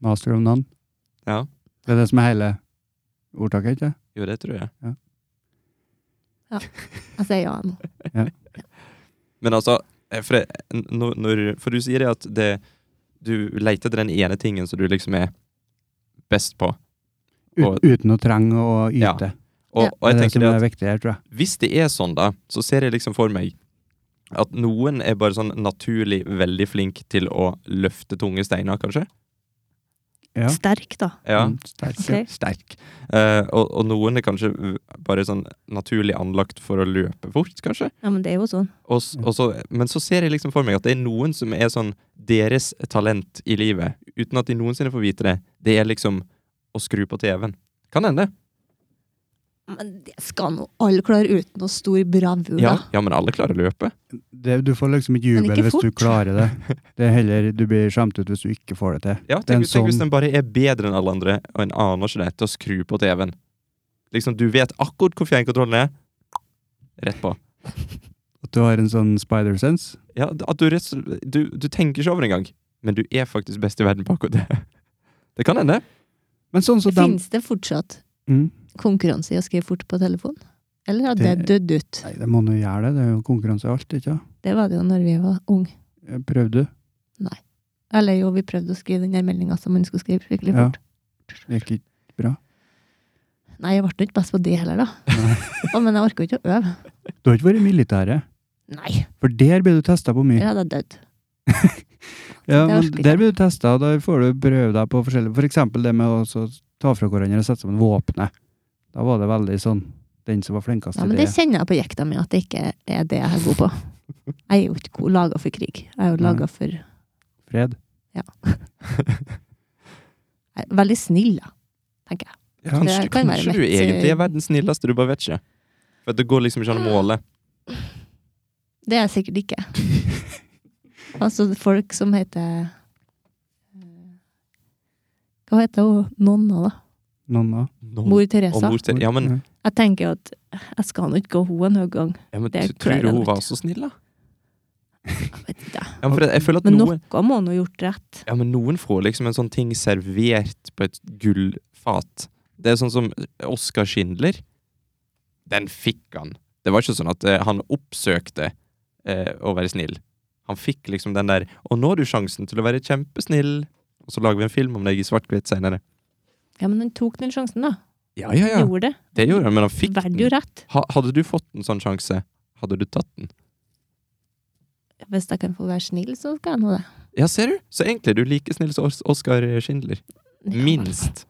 A: Master of none.
B: Ja.
A: Det er det som er hele ordtaket, ikke
B: Jo, det tror jeg.
C: Altså, Jeg sier ja nå.
B: Men altså, eh, for, det- n- når, når, for du sier det at det, du leter etter den ene tingen som du liksom er best på. Og-
A: Ut, uten å trenge å
B: Ja,
A: yte.
B: Og,
C: Ja.
A: det
B: og jeg
A: er det
B: tenker
A: som
B: det
A: er
B: at
A: viktig her, tror jeg.
B: hvis det er sånn, da, så ser jeg liksom for meg at noen er bare sånn naturlig veldig flink til å løfte tunge steiner, kanskje.
A: Ja.
C: Sterk, da.
B: Ja.
A: Mm, Sterk.
C: Ok.
A: Sterk.
B: Eh, og, og noen er kanskje v- bare sånn naturlig anlagt for å løpe fort, kanskje.
C: Ja, men det er jo sånn.
B: Og, s- og så, men så ser jeg liksom for meg at det er noen som er sånn deres talent i livet, uten at de noensinne får vite det. Det er liksom å skru på TV-en. Kan hende.
C: Men det skal nå alle klare uten noe stor bravur,
B: Ja,
C: da.
B: ja, men alle klarer å løpe.
A: Det, du får liksom ikke
C: Men
A: jubel
C: ikke
A: hvis du
C: fort.
A: klarer det. Det er heller Du blir skjemt ut hvis du ikke får det til.
B: *laughs* Ja,
A: Det er en
B: tenk, hvis- tenk hvis
A: sånn-
B: den bare er bedre enn alle andre, og en aner ikke det, til å skru på TV-en. Liksom, du vet akkurat hvor fjernkontrollen er. Rett på.
A: At du har en sånn spider sense.
B: Ja, at du, rett, og slett- du, du tenker ikke over det engang, men du er faktisk best i verden på akkurat det. *laughs* Det kan hende.
A: Men sånn som dem
C: Finnes det fortsatt
A: mm.
C: konkurranse i å skrive fort på telefon? Eller har det
A: Det-
C: dødd ut?
A: Nei, det må nå gjøre det. Det er jo konkurranse i alt, ikke sant?
C: Det var det jo når vi var unge.
A: Prøvde du?
C: Eller jo, vi prøvde å skrive den der meldinga som man skulle skrive skikkelig fort.
A: Det
C: *laughs*
A: gikk ikke bra.
C: Nei, jeg ble nå ikke best på det heller, da. Å, men jeg orker jo ikke å øve.
A: Du har ikke vært i militæret,
C: Nei,
A: for der blir du testa på
C: jeg
A: mye.
C: hadde dødd.
A: Ja,
C: det
A: men
C: orker ikke.
A: der blir du testa, og der får du prøve deg på forskjellige For eksempel det med å så ta fra hverandre og sette sammen våpenet. Da var det veldig sånn Den som var flinkest
C: Ja,
A: til
C: men
A: det.
C: det kjenner jeg på jekta mi, at det ikke er det jeg er god på. Jeg er jo ikke god laga for krig. Jeg er jo laga for jeg
A: Fred. *laughs*
C: er Veldig snill, da, tenker jeg.
A: Ja.
C: Det
B: Kanskje,
C: kan være
B: kanskje du
C: mitt, eh, Ah,
B: egentlig er verdens snilleste, du bare vet ikke. For at det går liksom ikke an å måle.
C: Det er jeg sikkert ikke. Altså folk som heter eh, Hva heter hun nonna, da?
A: Nonna.
B: Noen-
C: Mor
B: og
C: Teresa.
B: mor til, ja, men,
C: Jeg tenker at jeg skal nå ikke gå hun en høy gang.
B: ja, men
C: Det
B: t-
C: klarer
B: tror du hun
C: jeg
B: var
C: nok.
B: så snill, da?
C: Jeg vet ikke.
B: Ja, men, for jeg, jeg føler at
C: Men
B: noen,
C: noe må hun ha gjort rett.
B: ja, men noen får liksom en sånn ting servert på et gullfat. Det er sånn som Oskar Schindler. Den fikk han. Det var ikke sånn at eh, han oppsøkte eh, å være snill. Han fikk liksom den der 'Og nå har du sjansen til å være kjempesnill', og så lager vi en film om deg i svart-hvitt seinere.
C: Ja, men han tok den sjansen, da.
B: Ja, ja, ja.
C: Gjorde det.
B: Det gjorde han, men han fikk
C: Verd jo
B: den.
C: rett.
B: Ha, hadde du fått en sånn sjanse, hadde du tatt den?
C: Hvis jeg kan få være snill, så skal jeg nå det.
B: Ja, ser du? Så egentlig er du like snill som Os- Oskar Schindler.
C: Ja,
B: Minst.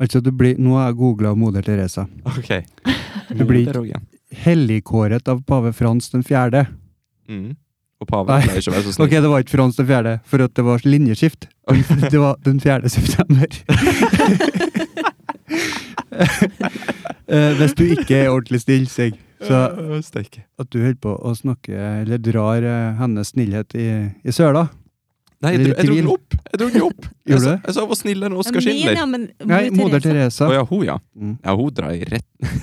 A: Altså, du blir Nå har jeg googla moder Teresa.
C: *laughs*
B: Ok.
A: Du blir-
B: Moder også, ja.
A: Helligkåret av pave Frans den fjerde.
B: Mm. Og paven
A: Nei.
B: pleier ikke å være så snill.
A: Ok, det var ikke Frans den fjerde, for at det var linjeskift.
B: *laughs*
A: Det var den 4. september. Eh, Hvis du ikke er ordentlig snill, Sig, så
B: Øh, steike.
A: at du holder på å snakke, eller drar eh, hennes snillhet i, i søla
B: Nei, jeg,
A: Det er
B: dro,
A: litt
B: jeg dro den
A: tvil.
B: opp! Jeg dro den jo opp.
A: *laughs* Gjorde
B: jeg, sa,
A: du?
B: jeg sa hun var snillere enn
C: Ja,
B: Oskar
C: men
B: Schindler.
C: ja, men
A: Nei, moder Teresa.
B: Å ja, hun, ja.
A: Mm.
B: Ja, hun drar i rett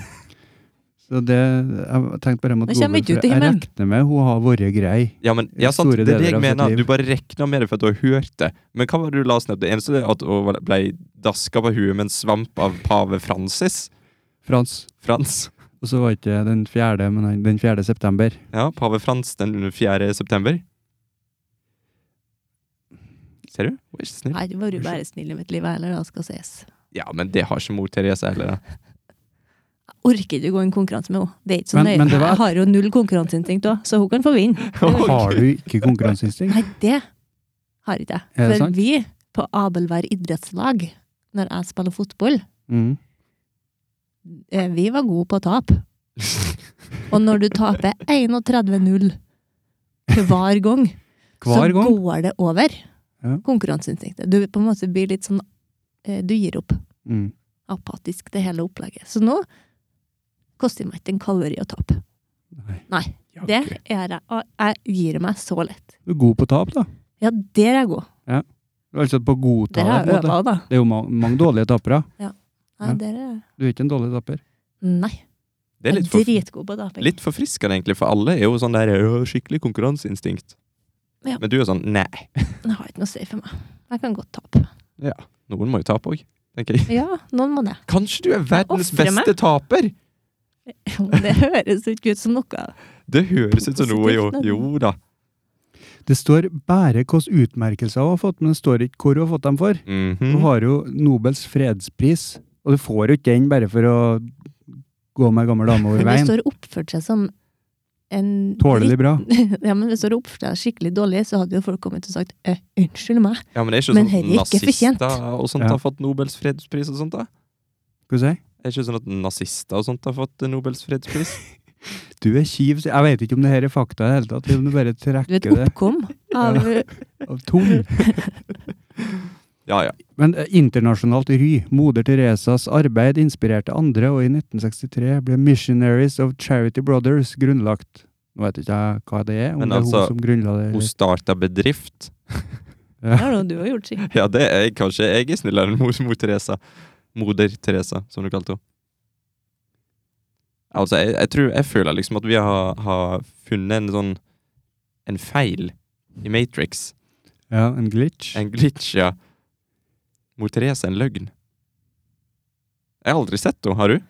A: Så det, jeg tenkte bare jeg måtte
C: Nå
A: google,
C: kommer ikke du
A: for
C: til
A: jeg
C: himmelen.
A: regner med hun har vært grei.
B: Ja, men ja, sant,
A: Store
B: det er det
A: deler
B: jeg
A: av sitt
B: mener.
A: liv.
B: Du bare regna med det for at du har hørt det. Men hva var det du la oss ned? Det eneste er at hun var- ble daska på huet med en svamp av pave Francis.
A: Frans.
B: Frans.
A: Og så var ikke den 4., men han- den 4. september.
B: Ja, pave Frans den 4. september. Ser du? Hun er ikke snill.
C: Nei, det var jo bare snill i mitt liv heller, da skal ses.
B: Ja, men det har ikke mor Therese heller.
C: *laughs*
B: da.
C: Jeg orker ikke å gå i en konkurranse med henne. Det er ikke så
A: Men-
C: nøye.
A: men det var-
C: Jeg har jo null konkurranseinstinkt òg, så hun kan få vinne.
B: Ok.
A: Har du ikke konkurranseinstinkt?
C: Nei, det har ikke jeg.
A: Er det
C: For
A: sant?
C: vi på Abelvær idrettslag, når jeg spiller fotball,
A: Mm.
C: eh, vi var gode på å tape. *laughs* Og når du taper 31-0 hver gang,
A: Hver
C: så
A: gang.
C: går det over.
A: Ja.
C: Konkurranseinstinktet. Du på en måte blir litt sånn eh, Du gir opp
A: Mm.
C: apatisk, det hele opplegget. Så nå koster det meg ikke en kalori å tape.
A: Nei.
C: Nei, det
A: Jakke.
C: er jeg. Og jeg gir meg så lett.
A: Du er god på tap, da.
C: Ja, der er jeg god.
A: Du er altså på godta
C: Der har
A: på en
C: jeg
A: måte.
C: øva, da.
A: Det er jo ma mange dårlige tapere.
C: Nei,
A: Ja.
C: der er jeg.
A: Du er ikke en dårlig taper.
B: Det
C: Nei,
B: er
C: jeg
B: litt,
C: er
B: for,
C: dritgod på taping.
B: litt forfriskende, egentlig, for alle er jo sånn der «Åh, skikkelig konkurranseinstinkt.
C: Ja.
B: Men du er sånn nei,
C: Det har ikke noe å si for meg. Jeg kan godt tape.
B: noen må jo tape òg, tenker jeg.
C: Ja, noen *laughs* må det.
B: Kanskje du er verdens
C: offrer meg.
B: beste taper?
C: Det høres jo ikke ut som noe.
B: Det høres ut som noe, jo.
C: Positivt, da.
B: Jo da.
A: Det står bare hvilke utmerkelser hun har fått, men det står ikke hvor hun har fått dem for. Hun
B: Mhm.
A: har jo Nobels fredspris, og du får jo ikke den bare for å gå med gammel dame over
C: Men
A: veien.
C: hvis du har oppført seg som en
A: Tålelig bra.
C: *laughs* Ja, men hvis du har oppført deg skikkelig dårlig, så hadde jo folk kommet og sagt «Eh, unnskyld meg.
B: Ja, men det er ikke
C: Men
B: sånn
C: Høyre
B: at
C: er ikke fortjent.
B: nazister og sånt
A: Ja.
B: har fått Nobels fredspris og sånt, da?
A: Skal vi si?
B: Er det ikke sånn at nazister og sånt har fått Nobels fredspris?
A: Du er kjiv. sier- Jeg vet ikke om det her er fakta i det hele tatt. men Du bare
C: Du er et
A: trekker det
C: oppkom av
A: av tung.
B: Ja, ja.
A: Men eh, internasjonalt ry. Moder Teresas arbeid inspirerte andre, og i 1963 ble Missionaries of Charity Brothers grunnlagt. Nå vet ikke jeg hva det er, om
B: Men
A: det er
B: altså,
A: hun som grunnla det.
B: Hun
A: eller-
B: starta bedrift.
C: Det har noe du har gjort, sikkert.
B: Ja, det er jeg. kanskje jeg er snillere enn mor, mor Teresa. Moder Teresa, som du kalte henne. Altså, jeg, jeg tror Jeg føler liksom at vi har, har funnet en sånn En feil i Matrix.
A: Ja, en glitch.
B: En glitch, ja. Mor Teresa, en løgn. Jeg har aldri sett henne, har du?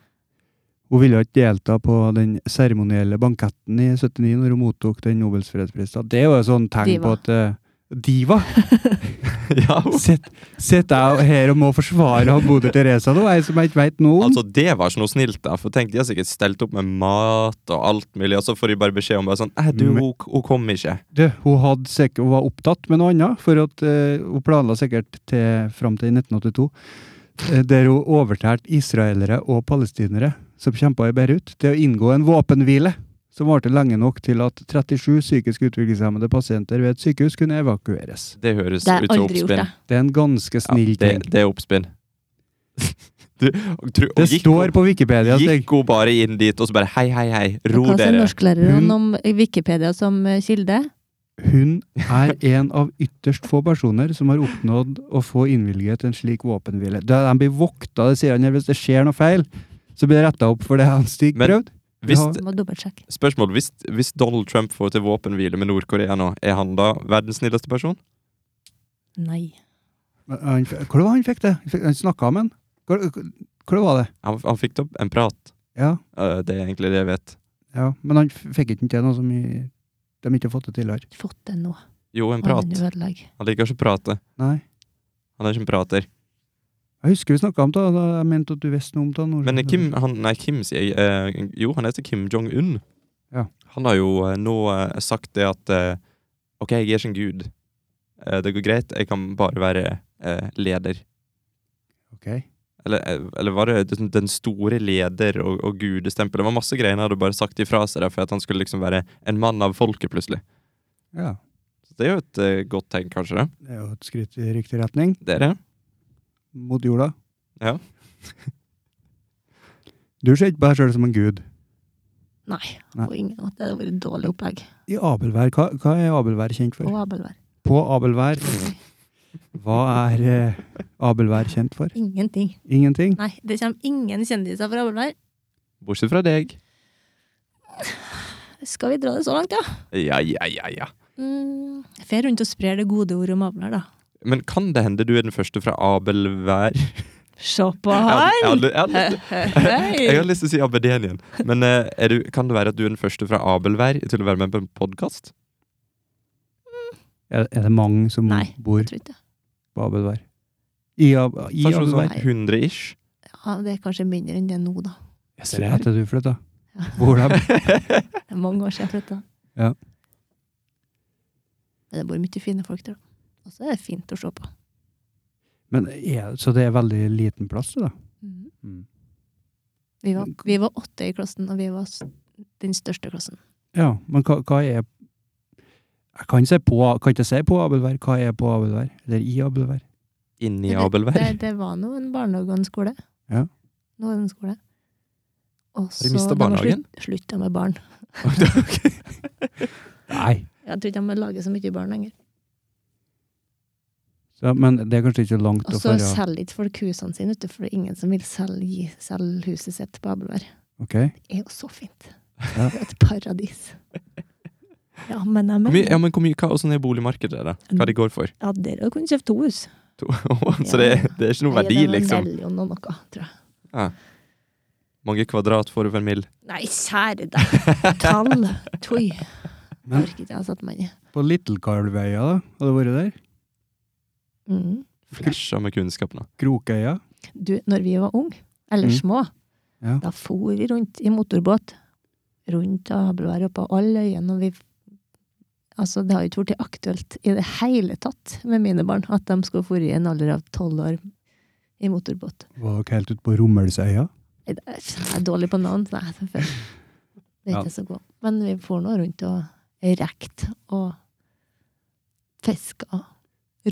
A: Hun ville ikke delta på den seremonielle banketten i 79 når hun mottok den Nobels fredsprisen. Det er jo et sånt tegn på
C: Diva.
A: at eh, Diva! *laughs*
B: ja, hun.
A: Sitter sitter jeg her og må forsvare han moder Teresa nå, jeg som jeg ikke veit noe om?
B: *laughs* Altså, det var ikke noe snilt, da. For tenk, de har sikkert stelt opp med mat og alt mulig, og så får de bare beskjed om bare sånn Æ, du,
A: Men-
B: hun, hun kom ikke.
A: Du, hun, hadde sikkert, hun var opptatt med noe annet, for at, eh, hun planla sikkert til, fram til 1982, eh, der hun overtalte israelere og palestinere som kjempa i Beirut, til å inngå en våpenhvile som varte lenge nok til at 37 psykisk utviklingshemmede pasienter ved et sykehus kunne evakueres.
B: Det høres
C: Det har
B: ut
C: jeg
B: som
C: aldri gjort,
B: oppspinn.
C: det.
A: Det er en ganske snill
B: det,
A: ting.
B: det er oppspinn. *laughs* du, og tru- og
A: Det
B: gikk
A: står på Wikipedia.
B: hun,
A: Stig.
B: gikk hun bare inn dit og så bare hei, hei, hei, ro
C: Hva sa
B: dere.
A: Hun-
C: norsklæreren om Wikipedia som eh, kilde?
A: Hun er en av ytterst få personer som har oppnådd å få innvilget en slik våpenhvile. Da De blir vokta, det sier han her. Hvis det skjer noe feil, så blir det retta opp for det han Stig
B: Men-
A: prøvde.
B: Hvis,
A: Ja.
C: Må dobbeltsjekke.
B: spørsmål, hvis, hvis Donald Trump får til våpenhvile med Nord-Korea nå, er han da verdens snilleste person?
C: Nei.
A: Men eh, Han, f- hvor var han fikk det? Han, fikk- han snakka om han. Hvor, hvor var det?
B: Han, han fikk opp en prat.
A: Ja,
B: Eh, det er egentlig det jeg vet.
A: ja. Men han f- fikk ikke til noe som i, de ikke har fått det tidligere.
C: Ikke fått det nå.
B: Jo, en
C: Å,
B: prat.
C: den ødelegger.
B: Han liker ikke å prate.
A: Nei.
B: Han er ikke en prater.
A: Jeg husker vi snakka om det, da jeg mente at du visste noe om det. Nord-
B: Men Kim, han, nei, Kim sier jeg. eh, jo, han heter Kim Jong-un.
A: Ja.
B: Han har jo eh, nå eh, sagt det at eh, OK, jeg er ikke en gud. Eh, det går greit, jeg kan bare være eh, leder.
A: Ok.
B: Eller, eh, eller var det den- den store leder og, og gudestempel? Det var masse greier han hadde bare sagt ifra seg der, for at han skulle liksom være en mann av folket, plutselig.
A: Ja.
B: Så det er jo et eh, godt tegn, kanskje? det?
A: Det er jo et skritt i riktig retning.
B: Det er det.
A: Mot jorda.
B: Ja.
A: *laughs* du ser ikke på deg sjøl som en gud.
C: Nei.
A: Nei.
C: Og ingen at det hadde vært dårlig opplegg.
A: I Abelvær, hva, hva er Abelvær kjent
C: Og
A: for?
C: Abelvær.
A: På Abelvær, hva er eh, Abelvær kjent for?
C: Ingenting.
A: Ingenting.
C: Nei, det kommer ingen kjendiser fra Abelvær.
B: Bortsett fra deg.
C: Skal vi dra det så langt, ja?
B: Ja, ja, ja, ja.
C: Mm, Fer rundt og sprer det gode ordet om Abelvær, da.
B: Men kan det hende du er den første fra Abelvær?
C: Se på
B: Jeg hadde-
C: han!
B: jeg hadde- jeg hadde- Jeg har
C: Hei!
B: lyst til å si Abedien, men eh, er du, kan det være at du er den første fra Abelvær til å være med på en podkast?
A: Er, er det mange som
C: Nei.
A: bor
C: Mm, Jeg tror ikke det.
A: på Abelvær? I, Ab i
B: Kanskje
A: Abelvær?
B: sånn
C: Abelvær.
B: 100-ish?
C: Ja, det er kanskje mindre enn det nå, da.
A: Jeg ser etter du flytta. Bor
B: *laughs*
A: de?
C: Det er mange år siden jeg flytta.
A: Ja.
C: Men det bor mye fine folk der, da. Og så er det fint å se på.
A: Men er, så det er veldig liten plass til det?
C: Mm. Vi, var, vi var åtte i klassen, og vi var s- den største klassen.
A: Ja, men hva, hva er Jeg kan, se på, kan ikke si på abelvær. Hva er på abelvær? Eller i abelvær?
B: Inni
C: Det-
B: Abelvær.
C: Det, det var nå en barnehage og en skole.
A: Ja.
C: Nå er det en skole. Og så-
B: mistet
C: de har
B: barnehagen?
C: slutt- Slutta med barn.
B: *laughs*
A: Nei.
C: Jeg tror ikke de lager så mye barn lenger.
A: Så, men det er kanskje ikke langt
C: Og
A: å
C: så
A: føre
C: selger ikke folk husene sine, vet du, for det er ingen som vil selge, selge huset sitt på Abelvær.
A: Ok.
C: Det er jo så fint.
A: Ja.
C: Det er et paradis. Ja, men jeg
B: Hvor
C: mener
B: mye, ja, men hvor mye, hva, hvordan er boligmarkedet der, da? Hva de går for?
C: Ja, dere kunne kjøpt to hus.
B: To. *laughs* Så det, er- det er ikke noe verdi,
C: Nei, det er en
B: liksom.
C: million og noe, tror jeg.
B: Mange kvadrat får du for en mill.
C: Nei, kjære deg. *laughs* Tall. Tui.
A: Men-
C: Orker ikke jeg har satt meg inn i.
A: På Littlekarlveia, da? Har du vært der?
C: Mm.
B: Flasha med kunnskap nå.
A: Krokøya?
C: du, når vi var unge, eller
A: Mm.
C: små,
A: Ja.
C: da for vi rundt i motorbåt. Rundt Abelvær og på alle øyene. Og vi, altså, det har jo ikke vært aktuelt i det hele tatt med mine barn at de skulle fore i en alder av tolv år i motorbåt.
A: Var dere helt ute på Rommelsøya?
C: Jeg jeg er dårlig på navn, så jeg det er
A: Ja.
C: ikke så god. Men vi for nå rundt og rekte og fiska,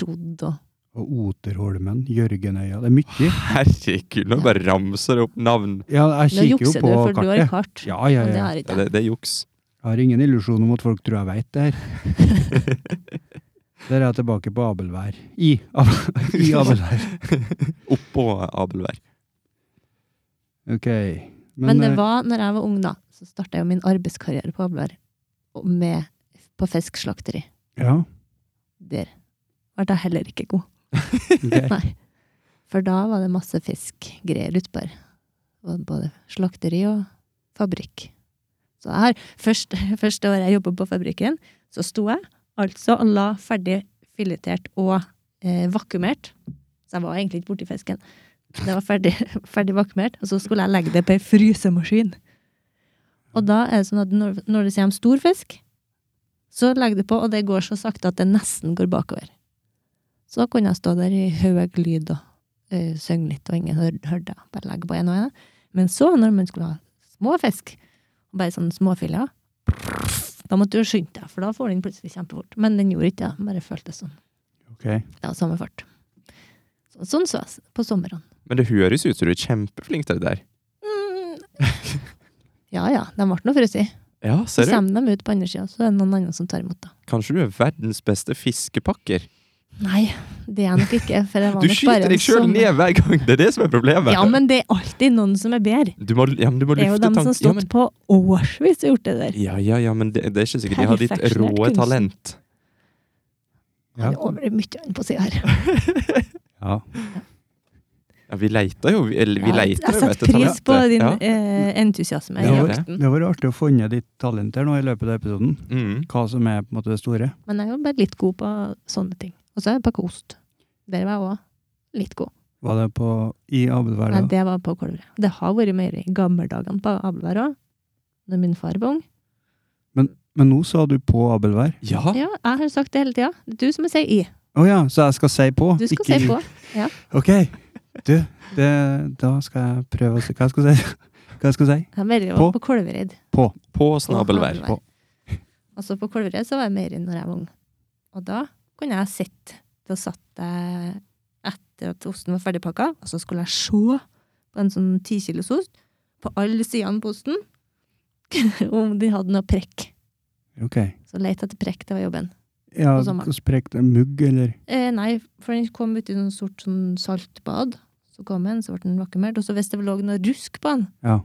C: rodd og
A: Og Oterholmen? Jørgenøya? Det er mye.
B: Herregud, nå bare ramser det opp navn.
A: Ja,
C: Nå
A: jeg kikker jo
C: jukser du,
A: på
C: for du har
A: kartet.
C: kart.
A: Ja, ja,
C: Og det
A: ja.
C: har
B: Ja,
C: ikke jeg.
B: det, det er juks.
A: Jeg har ingen illusjon om at folk tror jeg veit det her.
C: *laughs*
A: Der er jeg tilbake på Abelvær. I, ab *laughs* I Abelvær.
B: *laughs* Oppå Abelvær.
A: Ok.
C: Men, det
A: eh,
C: var, når jeg var ung da, så starta jeg jo min arbeidskarriere på Ablar. og med- På fiskslakteri.
A: Ja.
C: Der ble jeg heller ikke god.
A: ok.
C: *laughs* Nei. For da var det masse fiskgreier utpå her. Og Både slakteri og fabrikk. Så jeg har, først, *laughs* første året jeg jobba på fabrikken, så sto jeg altså og la ferdig filetert og eh, vakuumert. Så jeg var egentlig ikke borti fisken. Det var ferdig, *laughs* ferdig vakuumert, og så skulle jeg legge det på ei frysemaskin. Og da er det sånn at når, når det kommer stor fisk, så legger du på, og det går så sakte at det nesten går bakover. Så kunne jeg stå der i høy lyd og uh, synge litt, og ingen hør, hørte. jeg. Bare legge på en og en. Men så, når man skulle ha små fisk, og bare sånne småfiler, da måtte du skynde deg, for da får den plutselig kjempefort. Men den gjorde ikke det, den bare føltes sånn.
A: ok.
C: Det var samme fart. Så, sånn så jeg på
B: *laughs*
C: somrene.
B: Men det høres ut som du er kjempeflink til det der.
C: Mm. Ja ja, de ble nå frosset.
B: Ja,
C: Så
B: ser du.
C: kommer de ut på andre sida, så er det noen andre som tar imot, da.
B: Kanskje du er verdens beste fiskepakker.
C: Nei, det er jeg nok ikke. For jeg var
B: Du
C: nok bare
B: skyter
C: en
B: deg sjøl
C: sommer-
B: ned hver gang! Det er det som er problemet.
C: Ja, men det er alltid noen som er bedre.
B: Du må, ja, men du må
C: Det er jo
B: lufte tanken.
C: dem som har
B: Ja,
C: stått
B: men,
C: på årsvis og gjort det der.
B: ja, ja, ja, men det, det er ikke sikkert de har ditt
C: Perfeksjonert
B: råe
C: kunst.
B: talent.
A: Ja.
C: *laughs* Det er over mye annet på siden her.
A: ja.
B: Ja, vi leita jo, vi, eller, vi
C: Ja,
B: leita
C: jeg
B: jo etter
C: setter pris
B: talentet.
C: på din
B: Ja.
C: eh, entusiasme.
A: Det
B: Ja,
C: i
A: var,
B: det.
C: jakten.
A: det var artig å finne ditt talent her nå i løpet av episoden.
B: Mm.
A: Hva som er på en måte det store.
C: Men jeg er jo bare litt god på sånne ting. Og så er jeg på kost. Der var jeg også litt god.
A: Var det på i Abelvær?
C: Nei,
A: da?
C: det var på Kolvre. Det har vært mer i gamle dagene på Abelvær òg. Når min far var ung.
A: Men nå sa du på Abelvær.
B: Ja.
C: Ja, jeg har sagt det hele tida. Det er du som sier i.
A: Å ja, så jeg skal si på?
C: Du skal
A: ikke
C: si
A: i.
C: på.
A: Ok. Du, det, da skal jeg prøve å si Hva skal jeg si? *laughs* Hva skal jeg si?
C: Jeg var jo
A: På?
C: på Kolvereid.
B: På snabelvær.
C: På. *laughs* Og så Altså, på Kolvereid så var jeg mer enn når jeg var ung. Og da kunne jeg sitte. Da satt jeg etter at osten var ferdigpakka, og så skulle jeg se på en sånn tikilosost på alle sidene på osten *laughs* om den hadde noe prekk.
A: Ok.
C: Så lette jeg etter prekk, det var jobben.
A: Ja,
C: På sommeren.
A: sprekt mugg, eller?
C: Eh, nei, for den kom uti noe sort sånn saltbad. Så kom den, så ble den vakuumert. Og så hvis det lå noe rusk på den,
A: Ja.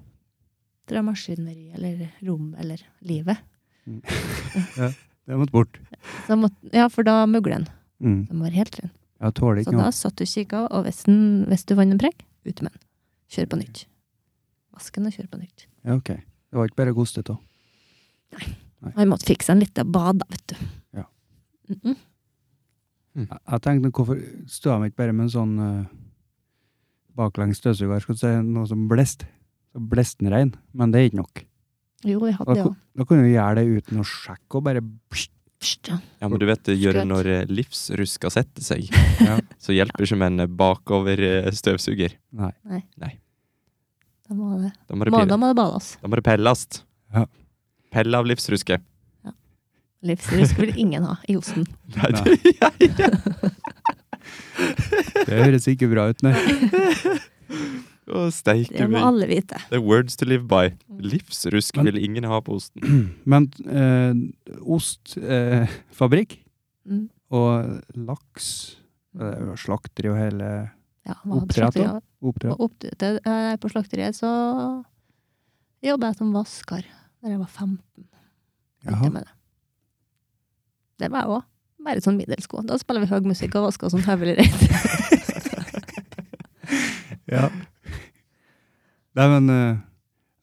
C: fra maskineri eller rom eller livet
A: Det måtte bort.
C: så måtte, Ja, for da mugler den.
A: Mm.
C: Den var helt ren.
A: Jeg tåler
C: Så
A: ikke
C: da
A: noe.
C: satt du og kikka, og hvis, den, hvis du vant en prekk, ut med den. Kjør på nytt. Vask den og kjør på nytt.
A: Ja, ok. Det var ikke bare kostet da.
C: Og jeg måtte fikse en liten bad, da, vet du.
A: Ja.
C: Mm -mm.
A: Jeg, jeg tenkte, hvorfor stod jeg meg ikke bare med en sånn eh, baklengs støvsuger, skal du si, noe som blest? Så blest den rein, men det er ikke nok.
C: Jo, vi
A: Da,
C: hadde det
A: ku-
C: òg.
A: da kunne vi gjøre det uten å sjekke, og *laughs* bare
B: Ja, men du vet det gjør
C: Skrøt.
B: når eh, livsruska setter
C: *laughs*
B: seg.
A: Ja.
B: Så hjelper ikke med en eh, bakover eh, støvsuger.
A: Nei.
C: Da må det,
B: Da må det,
C: må, da
B: pille.
C: må det bades.
B: Da må det pellast.
A: Ja.
B: Pelle av livsruske.
C: Livsrisk vil ingen ha i
A: *laughs*
C: osten.
B: *laughs* Nei, det, jeg,
A: Det høres ikke bra ut, nei. *clears throat*
B: å, steike
C: Det må
B: meg.
C: alle vite.
B: Det er words to live by.
C: Mm.
B: Livsrusk vil ingen ha på osten.
A: Men eh, ostfabrikk eh,
C: Mm.
A: og laks eh, og Slakter jo hele
C: Ja, hva på
A: Oppdrett, da?
C: slakteriet-
A: oppdrett.
C: på oppdrett- eh, På slakteriet så jobba jeg som vasker da jeg var 15. begynte jeg
A: Jaha.
C: med Det. det var jeg òg. Bare sånn middelsko. Da spiller vi høy musikk og sånn, vasker som høvelig reit.
A: *laughs* Ja. Nei, men eh,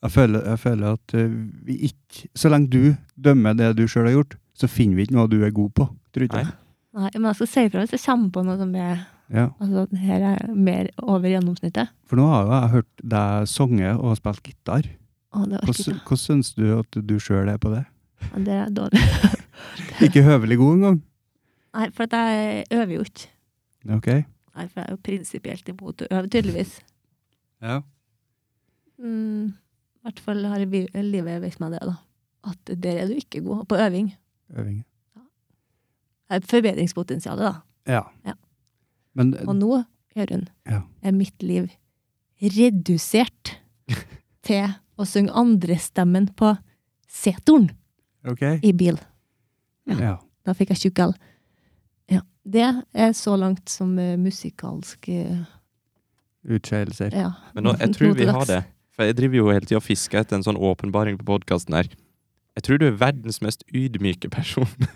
A: jeg, føler, jeg føler at eh, vi ikke Så lenge du dømmer det du sjøl har gjort, så finner vi ikke noe du er god på. Tror ikke
B: Nei.
A: jeg.
C: Nei, men jeg skal si ifra hvis jeg kommer på noe som er
A: Ja.
C: Altså, det her er mer over gjennomsnittet.
A: For nå har jo jeg hørt deg sange og spilt gitar.
C: Å, det orker
A: Hvordan
C: ikke.
A: hvordan syns du at du sjøl er på det?
C: Ja, Det er dårlig.
A: Ikke høvelig god engang?
C: Nei, for at jeg øver jo ikke.
A: Ok.
C: Nei, for jeg er jo prinsipielt imot å øve, tydeligvis.
A: Ja.
C: Mm, I hvert fall har vi- livet vist meg det, da. At der er du ikke god på øving.
A: Øving.
C: Det er Forbedringspotensialet, da.
A: Ja.
C: Ja.
A: Men
C: Og nå, Jørund,
A: Ja.
C: er mitt liv redusert til å synge andrestemmen på setoren
A: ok.
C: i bil.
A: Ja.
C: Da fikk jeg tjukk L. Ja. Det er så langt som eh, musikalsk eh,
A: Utskeielser.
C: Ja.
B: Men nå, jeg tror vi har
C: Notedags.
B: det. For jeg driver jo hele tida og fisker etter en sånn åpenbaring på podkasten her. Jeg tror du er verdens mest ydmyke person.
C: *laughs*
B: *laughs*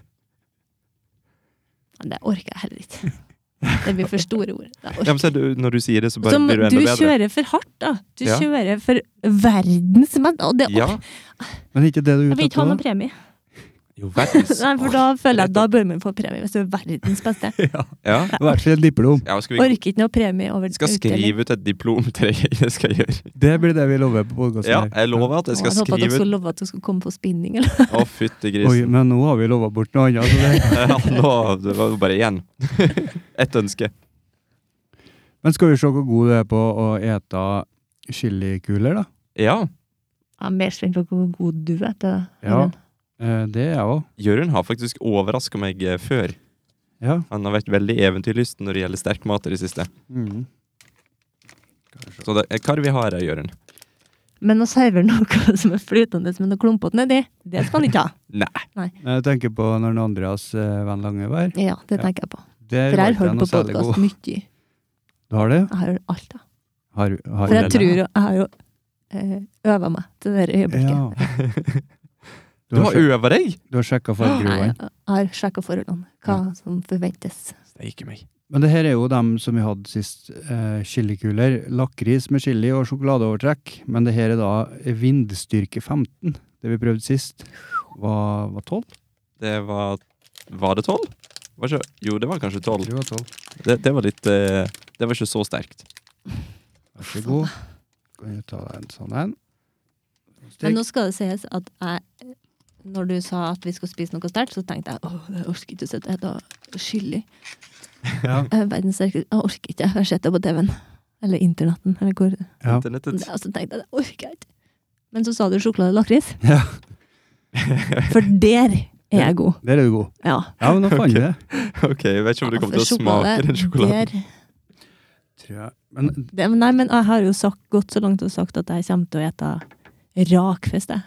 C: Men det orker jeg heller ikke. Det blir for store ord. Det orker
B: Ja, men se, du, når du sier det, så bare
C: Som
B: blir du
C: du
B: enda bedre.
C: kjører for hardt, da. Du
B: Ja.
C: kjører for verdens men- og det,
B: Ja.
A: Men er ikke det du er
C: Jeg vil
A: ute
C: ikke ha
A: etter?
C: noen
A: da?
B: *laughs*
C: premie.
B: Jo, verdens.
C: *laughs* Nei, for da føler jeg at da bør man få premie, hvis du er verdens beste.
B: Ja.
A: I hvert fall et diplom.
B: ja, skal *laughs* vi
C: Orker ikke noe premie over
B: skal
C: utdeling.
B: skrive ut et diplom til deg. *laughs* Det skal jeg gjøre.
A: Det blir det vi lover på podkasten.
B: Ja, jeg lover at jeg skal
C: Å, jeg håper at dere
B: skrive ut
C: skulle love at du skulle komme på spinning, eller
B: Å, fytti
A: Oi,
B: grisen.
A: men nå har vi lova bort noe annet. så det-
B: *laughs* Ja, nå det var det bare igjen. *laughs* Ett ønske.
A: Men skal vi se hvor god du er på å ete chilikuler, da?
B: Ja,
C: Jeg er mer spent på hvor god du er til det.
A: Ja.
C: Jørgen.
A: Eh, Det er jeg òg.
B: Jørund har faktisk overraska meg eh, før.
A: Ja.
B: Han har vært veldig eventyrlysten når det gjelder sterkmat i det siste.
A: Mm.
B: Så det, eh, hva er det vi har her, *laughs* Jørund?
C: Men å servere noe *laughs* som er flytende med noe klumpete nedi, det skal man ikke ha.
B: Nei.
A: Jeg tenker på når Andreas eh, Van Lange var her.
C: Ja, det
A: Ja.
C: tenker jeg på.
A: Der
C: For
A: var
C: jeg
A: ikke
C: har
A: jeg
C: hørt
A: noe
C: på
A: særlig god.
C: podkast mye.
A: Du har det?
C: Jeg har hørt alt, da.
A: Har, har
C: For jeg
A: du det?
C: tror jo Jeg har jo eh, øva meg til det der øyeblikket.
A: Ja. Du
B: Du
A: har,
B: har
A: sjek-
B: øva deg!
A: du har sjekka fargerovene.
C: Nei, jeg har sjekka forholdene. Hva som forventes.
B: Steike meg.
A: Men det her er jo dem som vi hadde sist. Eh, chilikuler. Lakris med chili og sjokoladeovertrekk. Men det her er da vindstyrke 15. Det vi prøvde sist, var, var 12.
B: Det var Var det tolv? Var ikke- Jo, det var kanskje tolv.
A: Det var 12.
B: Det, det var litt eh, Det var ikke så sterkt.
A: Vær så god. Kan du ta deg en sånn en?
C: Men nå skal det sies at jeg Når du sa at vi skulle spise noe sterkt, så tenkte jeg åh, jeg orker ikke å sitte og spise chili.
A: Ja.
C: Eh, Verdens sterkeste Jeg orker ikke. Jeg har sett det på TV-en. Eller internetten. Eller hvor.
A: Ja.
B: Internettet. *laughs*
C: Og så altså, tenkte jeg det orker jeg ikke. Men så sa du sjokolade og lakris.
A: ja.
C: For der er jeg god.
A: Der er du god.
C: Ja.
A: Ja, men nå fant vi det.
B: Ok, jeg vet ikke om du kommer til å
C: For Altså, sjokolade,
B: smake den sjokoladen.
C: der-
A: Tror jeg. Men
C: Det, nei, men jeg har jo sagt, gått så langt og sagt at jeg kommer til å ete rakfisk, jeg.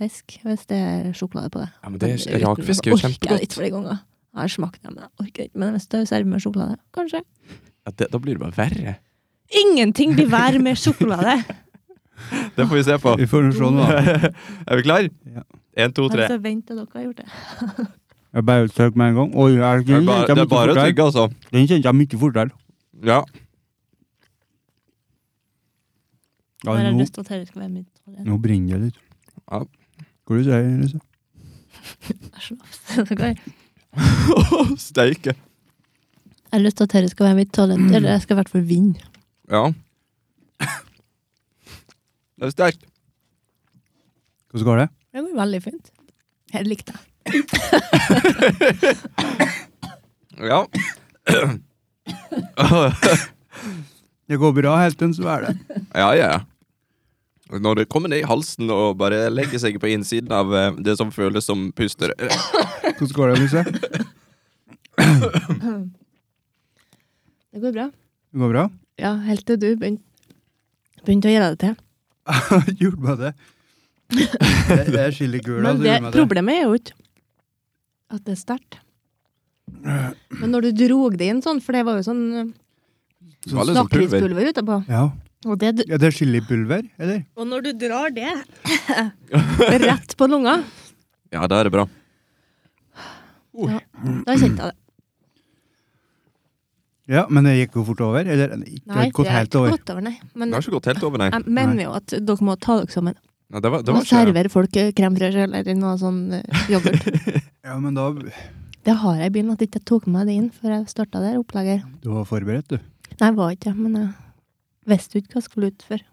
C: Fisk, hvis det er sjokolade på det.
B: Ja, men det er,
C: Uten-
B: rakfisk er jo
C: Orker jeg
B: kjempegodt.
C: litt flere ganger. Jeg har smakt det, men jeg orker ikke. Men hvis det er servert med sjokolade, kanskje.
B: Ja, det, da blir det bare verre.
C: Ingenting blir vær med sjokolade!
B: Det får vi se på.
A: vi får nå se nå. da.
B: *laughs* Er vi klar?
A: Ja.
B: Én, *laughs* to, tre.
C: Altså, vent til dere har gjort det.
A: Jeg bare søker med en gang. Oi, jeg,
B: Det er
A: den
B: bare,
A: kjente
B: det
A: jeg
B: er bare
A: mye
B: å
A: fortere.
B: tygge, altså.
A: Den kjente jeg mye fortere.
B: Ja.
A: Ja,
C: jeg har
A: nå,
C: lyst til at dette skal være mitt toalett.
A: nå brenner det litt.
B: Ja.
A: Hva du sier du?
C: Jeg slår- *laughs* Dere-
B: Steike.
C: Jeg har lyst til at dette skal være mitt toalett. Eller jeg skal i hvert fall vinne.
B: Ja. Det er sterkt.
A: Hvordan går det?
C: Det går veldig fint. Jeg likte det.
B: Ja.
A: Det går bra helt til så er det.
B: Ja, ja. Når det kommer ned i halsen og bare legger seg på innsiden av eh, det som føles som puster
A: Hvordan går det, Lise?
C: Det går bra.
A: Det går bra? *laughs*
C: Ja, helt til du begynte begynte å gjøre det til. *laughs*
A: Jordbadet. Det det er chili gula du
C: Men det,
A: gjør med det.
C: problemet er jo ikke at det er sterkt. Men når du drog det inn sånn, for det var jo sånn eh,
B: Det var litt sånn pulver.
C: lakrispulver utapå
A: Ja.
C: og, det,
A: ja, det er chilipulver, eller?
C: og når du drar det *laughs* rett på lunga,
B: Ja, da er det bra.
C: da kjente jeg det.
A: Ja, men det gikk jo fort over. Eller det gikk- det har
C: Nei,
A: ikke gått helt over.
C: gått over, nei.
B: Det
C: Men
B: har ikke gått helt over, nei.
C: jeg mener jo at dere må ta dere sammen.
B: Nei, det var, det
C: Og
B: var ikke
C: servere folk eh, crème fraîche eller noe sånn eh, yoghurt.
A: Ja, men da
C: det har jeg i bilen, at jeg ikke tok med det inn før jeg starta der opplegget.
A: Du var forberedt, du.
C: Nei, jeg var ikke det, men jeg visste jo ikke hva jeg skulle ut for.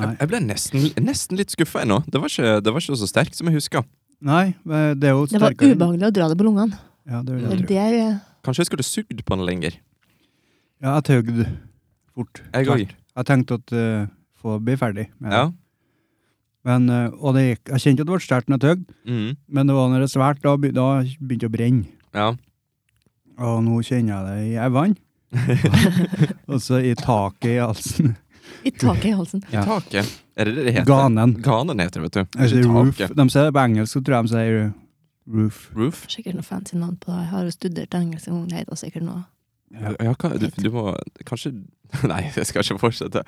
A: Nei.
B: Jeg, jeg ble nesten, nesten litt skuffa ennå. Det var, ikke, det var ikke så sterkt som jeg huska.
A: Nei, men det er jo
C: Det var
A: sterkere.
C: ubehagelig å dra det på lungene.
A: Ja, det vil
C: Det
A: jeg tro.
C: er der, eh,
B: Kanskje jeg skulle sugd på den lenger.
A: Ja, jeg tøgde fort.
B: Jeg
A: Tvert.
B: òg.
A: Jeg tenkte at eh, få bli ferdig med det.
B: Ja.
A: Men, eh, og det gikk, jeg kjente at det ble sterkt når jeg tøgde,
B: Mhm.
A: men det var når det er svært, da, be- da begynte det å brenne.
B: ja.
A: Og nå kjenner jeg det i *laughs* øynene. og så i taket i
B: *laughs*
A: halsen.
C: i taket i halsen.
A: Ja.
B: Taket. Er det det det heter?
A: Ganen.
B: Ganen heter det, vet du.
A: Altså,
B: Ikke
A: roof.
B: taket.
A: De sier det på engelsk, så tror jeg de sier roof.
B: Roof?
C: Sikkert noe fancy navn på det. Jeg har jo studert engelsk en gang, det heter sikkert noe.
B: Ja, ka- du, du må kanskje *laughs* Nei, jeg skal ikke fortsette.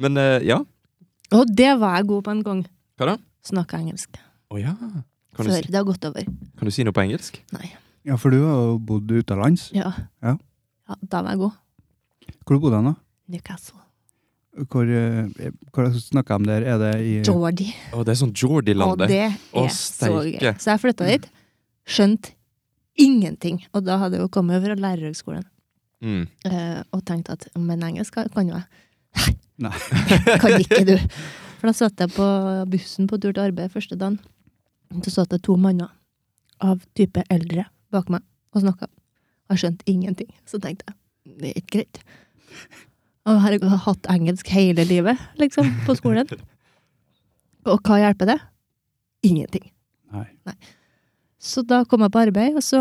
B: Men eh, ja.
C: Og det var jeg god på en gang.
B: Hva da?
C: Snakke engelsk.
B: Å ja. Kan du,
C: Før
B: si,
C: det har gått over.
B: kan du si noe på engelsk?
A: Ja, for du har jo bodd utenlands.
C: Ja.
A: Ja.
C: Ja, da var jeg god.
A: Hvor bodde du da?
C: Newcastle.
A: Hvor, eh, hvor snakker de om der? Er det i
C: Jordi.
B: Å, det er sånn
C: Og
B: Jordi-landet.
C: det
B: Å,
C: er så gøy.
B: steike.
C: Så jeg flytta dit. Skjønt ingenting. Og da hadde jeg jo kommet fra lærerhøgskolen
B: Mm.
C: eh, og tenkt at men engelsk kan jo jeg.
A: Nei.
C: *laughs* kan ikke du. For da satt jeg på bussen på tur til arbeid første dagen. Så satt det to manner av type eldre bak meg og snakka. Jeg skjønte ingenting. Så tenkte jeg det er ikke greit. Og her har jeg hatt engelsk hele livet, liksom, på skolen. Og hva hjelper det? Ingenting.
A: Nei.
C: Så da kom jeg på arbeid, og så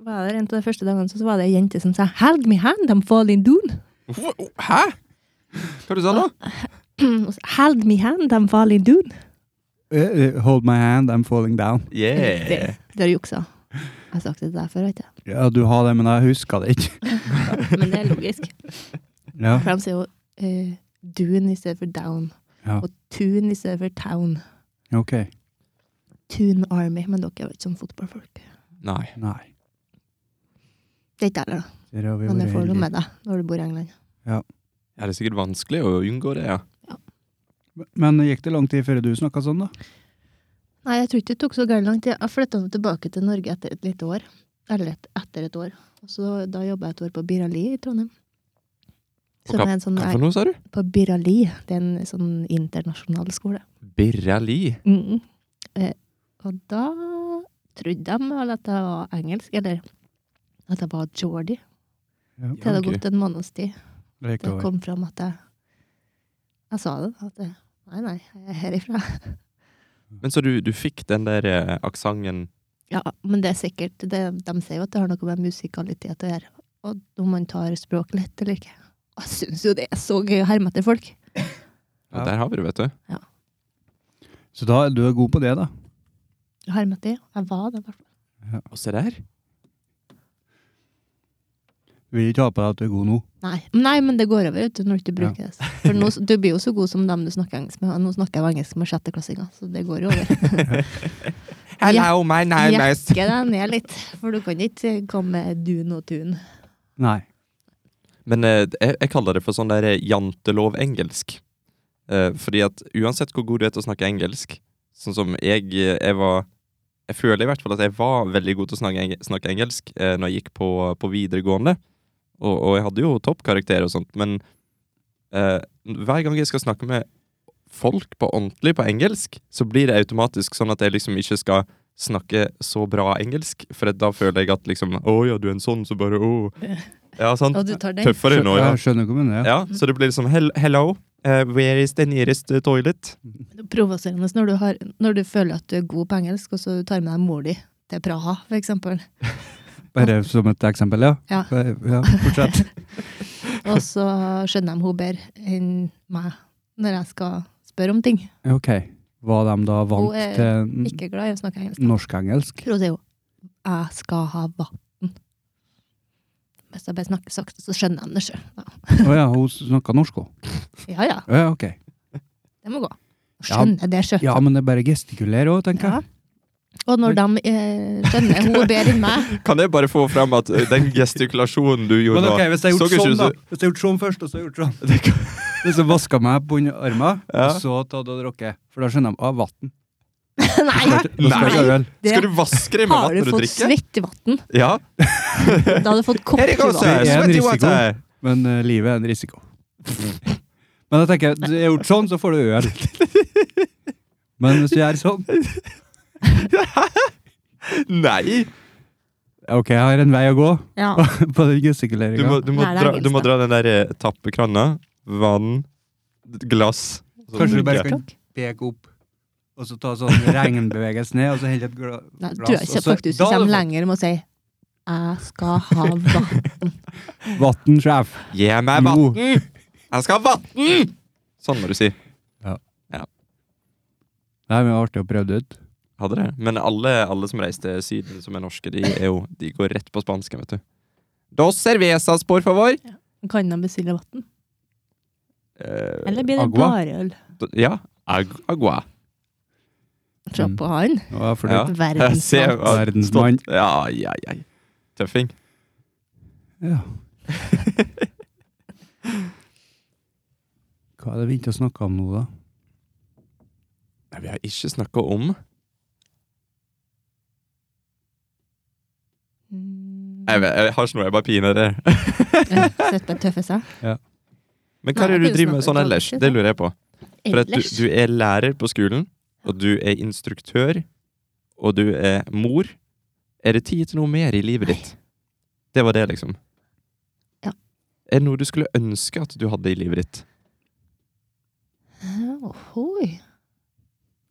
C: var det en av de første dagene så var det ei jente som sa 'Held me hand, I'm falling down'.
B: Hva- Hæ? Hva du sa du nå?
C: *clears throat* Og så, Held me hand, I'm falling down.
A: Eh, eh, Hold my hand, I'm falling down.
B: Yeah.
C: Det, det er juksa. Jeg har sagt det der før, vet jeg.
A: Ja, du har det, men jeg husker det ikke.
C: *laughs*
A: *laughs*
C: Men det er logisk.
A: Ja,
C: For de sier jo eh, doon i stedet for down.
A: Ja.
C: Og tune i stedet for town.
A: ok.
C: Tune Army. Men dere er jo ikke sånn fotballfolk.
B: Nei.
A: Nei.
C: Det er ikke jeg, da.
A: Der har vi
C: Men det
A: vært
C: får du
A: heldige.
C: med deg når du bor i England.
B: Ja, det er sikkert vanskelig å unngå det, ja.
A: Men gikk det lang tid før du snakka sånn, da?
C: Nei, jeg tror ikke det tok så gærent lang tid. Jeg flytta tilbake til Norge etter et lite år. Eller et, etter et år. Og så, da jobba jeg et år på Birali i Trondheim.
B: På
C: Som
B: hva-
C: er en sånn,
B: Hva for noe, sa du?
C: på Birali. Det er en sånn internasjonal skole.
B: Birrali.
C: Mm. Eh, og da trodde de vel at jeg var engelsk, eller at jeg var Jordi.
A: Ja,
C: Det hadde
B: ok.
C: gått en måneds tid.
A: det gikk
C: Det
A: over.
C: kom fram at jeg Jeg sa det. At jeg, nei, nei, jeg er herifra.
B: Men så du, du fikk den der eh, aksenten
C: Ja, men det er sikkert det, De sier jo at det har noe med musikalitet å gjøre. Og om man tar språk lett eller ikke. Og Jeg syns jo det er så gøy å herme etter folk.
B: ja.
A: Ja.
B: Der har vi det, vet du.
A: Så da, du er god på det, da?
C: Herme etter. Jeg var det, i hvert fall.
B: Og se *laughs* der.
A: Du vil ikke ha på deg at du er god nå?
C: Nei. nei, men det går over vet du, når du ikke bruker det. For nå, du blir jo så god som dem du snakker engelsk med. Og nå snakker jeg jo engelsk med sjetteklassinger, så det går jo over. Hello,
B: my
C: Jekke deg ned litt, for du kan ikke komme med dun og tun.
A: *laughs* Nei.
B: Men eh, jeg, jeg kaller det for sånn der eh, jantelov-engelsk. Eh, fordi at uansett hvor god du er til å snakke engelsk, sånn som jeg, eh, jeg var Jeg føler i hvert fall at jeg var veldig god til å snakke, eng snakke engelsk eh, når jeg gikk på, på videregående. Og, og jeg hadde jo toppkarakterer og sånt, men eh, hver gang jeg skal snakke med folk på ordentlig på engelsk, så blir det automatisk sånn at jeg liksom ikke skal snakke så bra engelsk, for da føler jeg at liksom Å ja, du er en sånn, så bare å. Ja, sant?
C: Og du tar den.
B: Tøffere nå, ja.
A: Jeg skjønner kommunen, ja.
B: ja. Så det blir liksom hel Hello, eh, where is the nearest eh, toilet?
C: Provoserende når, du har- når du føler at du er god på engelsk, og så tar med deg mor di til Praha, for eksempel.
A: Bare som et eksempel, ja.
C: Ja.
A: ja fortsett.
C: *laughs* Og så skjønner de hun bedre enn meg når jeg skal spørre om ting.
A: Ok. Var de da vant
C: Hun er
A: til
C: Ikke glad i å snakke engelsk.
A: norsk-engelsk?
C: For hun sier jo 'jeg skal ha vann'. Hvis jeg bare snakker sakte, så skjønner de det sjøl.
A: Å ja, hun snakka norsk òg.
C: Ja ja,
A: Ja, ok.
C: det må gå.
A: Ja.
C: Skjønner det sjøl.
A: Ja, men det er bare gestikuler òg, tenker jeg.
C: Og når de eh, skjønner hun bedre enn meg *laughs*
B: Kan jeg bare få fram at ø, den gestikulasjonen du gjorde
A: Men
B: nå
A: ok, Hvis jeg har
B: så
A: gjort
B: ikke
A: sånn,
B: ut
A: da.
B: som-
A: Hvis jeg har gjort sånn først, og så har jeg gjort sånn. *laughs* Liksom vaska meg på under armen,
B: Ja.
A: og så tatt og drukket. For da skjønner de ah, vann.
C: Nei! Nei. Det
B: Skal du vaske deg med
C: har
B: vann
C: du
B: når du
C: fått
B: drikker?
C: svettevann.
B: Ja.
C: Da har du fått
B: Here it goes,
A: Det
B: uh,
A: er
C: koppevann.
A: en
B: sweaty
A: risiko.
B: water.
A: Men eh, livet er en risiko. *laughs* Men jeg tenker, du har gjort sånn, så får du øl.
B: *laughs*
A: Men hvis du gjør sånn
B: Nei!
A: Ok, jeg har en vei å gå *laughs*
C: Ja.
A: på den
B: Du må,
A: gestikuleringa.
B: du må,
C: Nei, det er
B: dra, du må
C: engelsk,
B: dra den der eh, tappekrana. Vann. Glass. sånn så
A: Kanskje du bare
B: drikke.
A: skal peke opp, og så ta sånn regnbevegelse ned, og så helle et gla-
C: Nei,
A: glass
C: tror jeg ikke
A: og så-
C: faktisk du
A: Da hadde
C: kommer
A: du
C: lenger med å si 'jeg skal ha vann'.
A: fått Vatten, sjef.
B: Gi meg vann!
A: Jo.
B: Jeg skal ha vann! Sånn må du si.
A: Nei, men det var artig å prøve det ut.
B: Hadde det. Men alle, alle som reiser til Syden, som er norske, de, er jo, de går rett på spansken, vet du. Dos cervezas, por favor!
C: Kan de bestille vann?
B: Eh,
C: Eller blir det
A: Agua?
C: bare øl?
B: d- ja. Ag agua.
C: Se på han.
A: Det var for
B: Ja.
A: dyrt.
B: Jeg ser- ja,
C: Verdensmann.
A: Verdensmann.
B: stopp. Ja, ja, ja. Tøffing.
A: Ja. *laughs* Hva er det vi ikke har snakka om nå, da?
B: Nei, vi har ikke snakka om
C: Mm.
B: Nei, Jeg, vet, jeg har ikke noe, jeg bare piner det.
C: *laughs* Ja, Sett på tøffe seg.
B: Men hva er det
C: Nei, jeg
B: du
C: kunne
B: driver med
C: snakket
B: sånn
C: om
B: ellers?
C: det.
B: Det lurer jeg på. For at du,
C: Ellers
B: du er lærer på skolen, og du er instruktør, og du er mor. Er det tid til noe mer i livet ditt? Det var det, liksom.
C: Ja.
B: Er det noe du skulle ønske at du hadde i livet ditt?
C: Ohoi.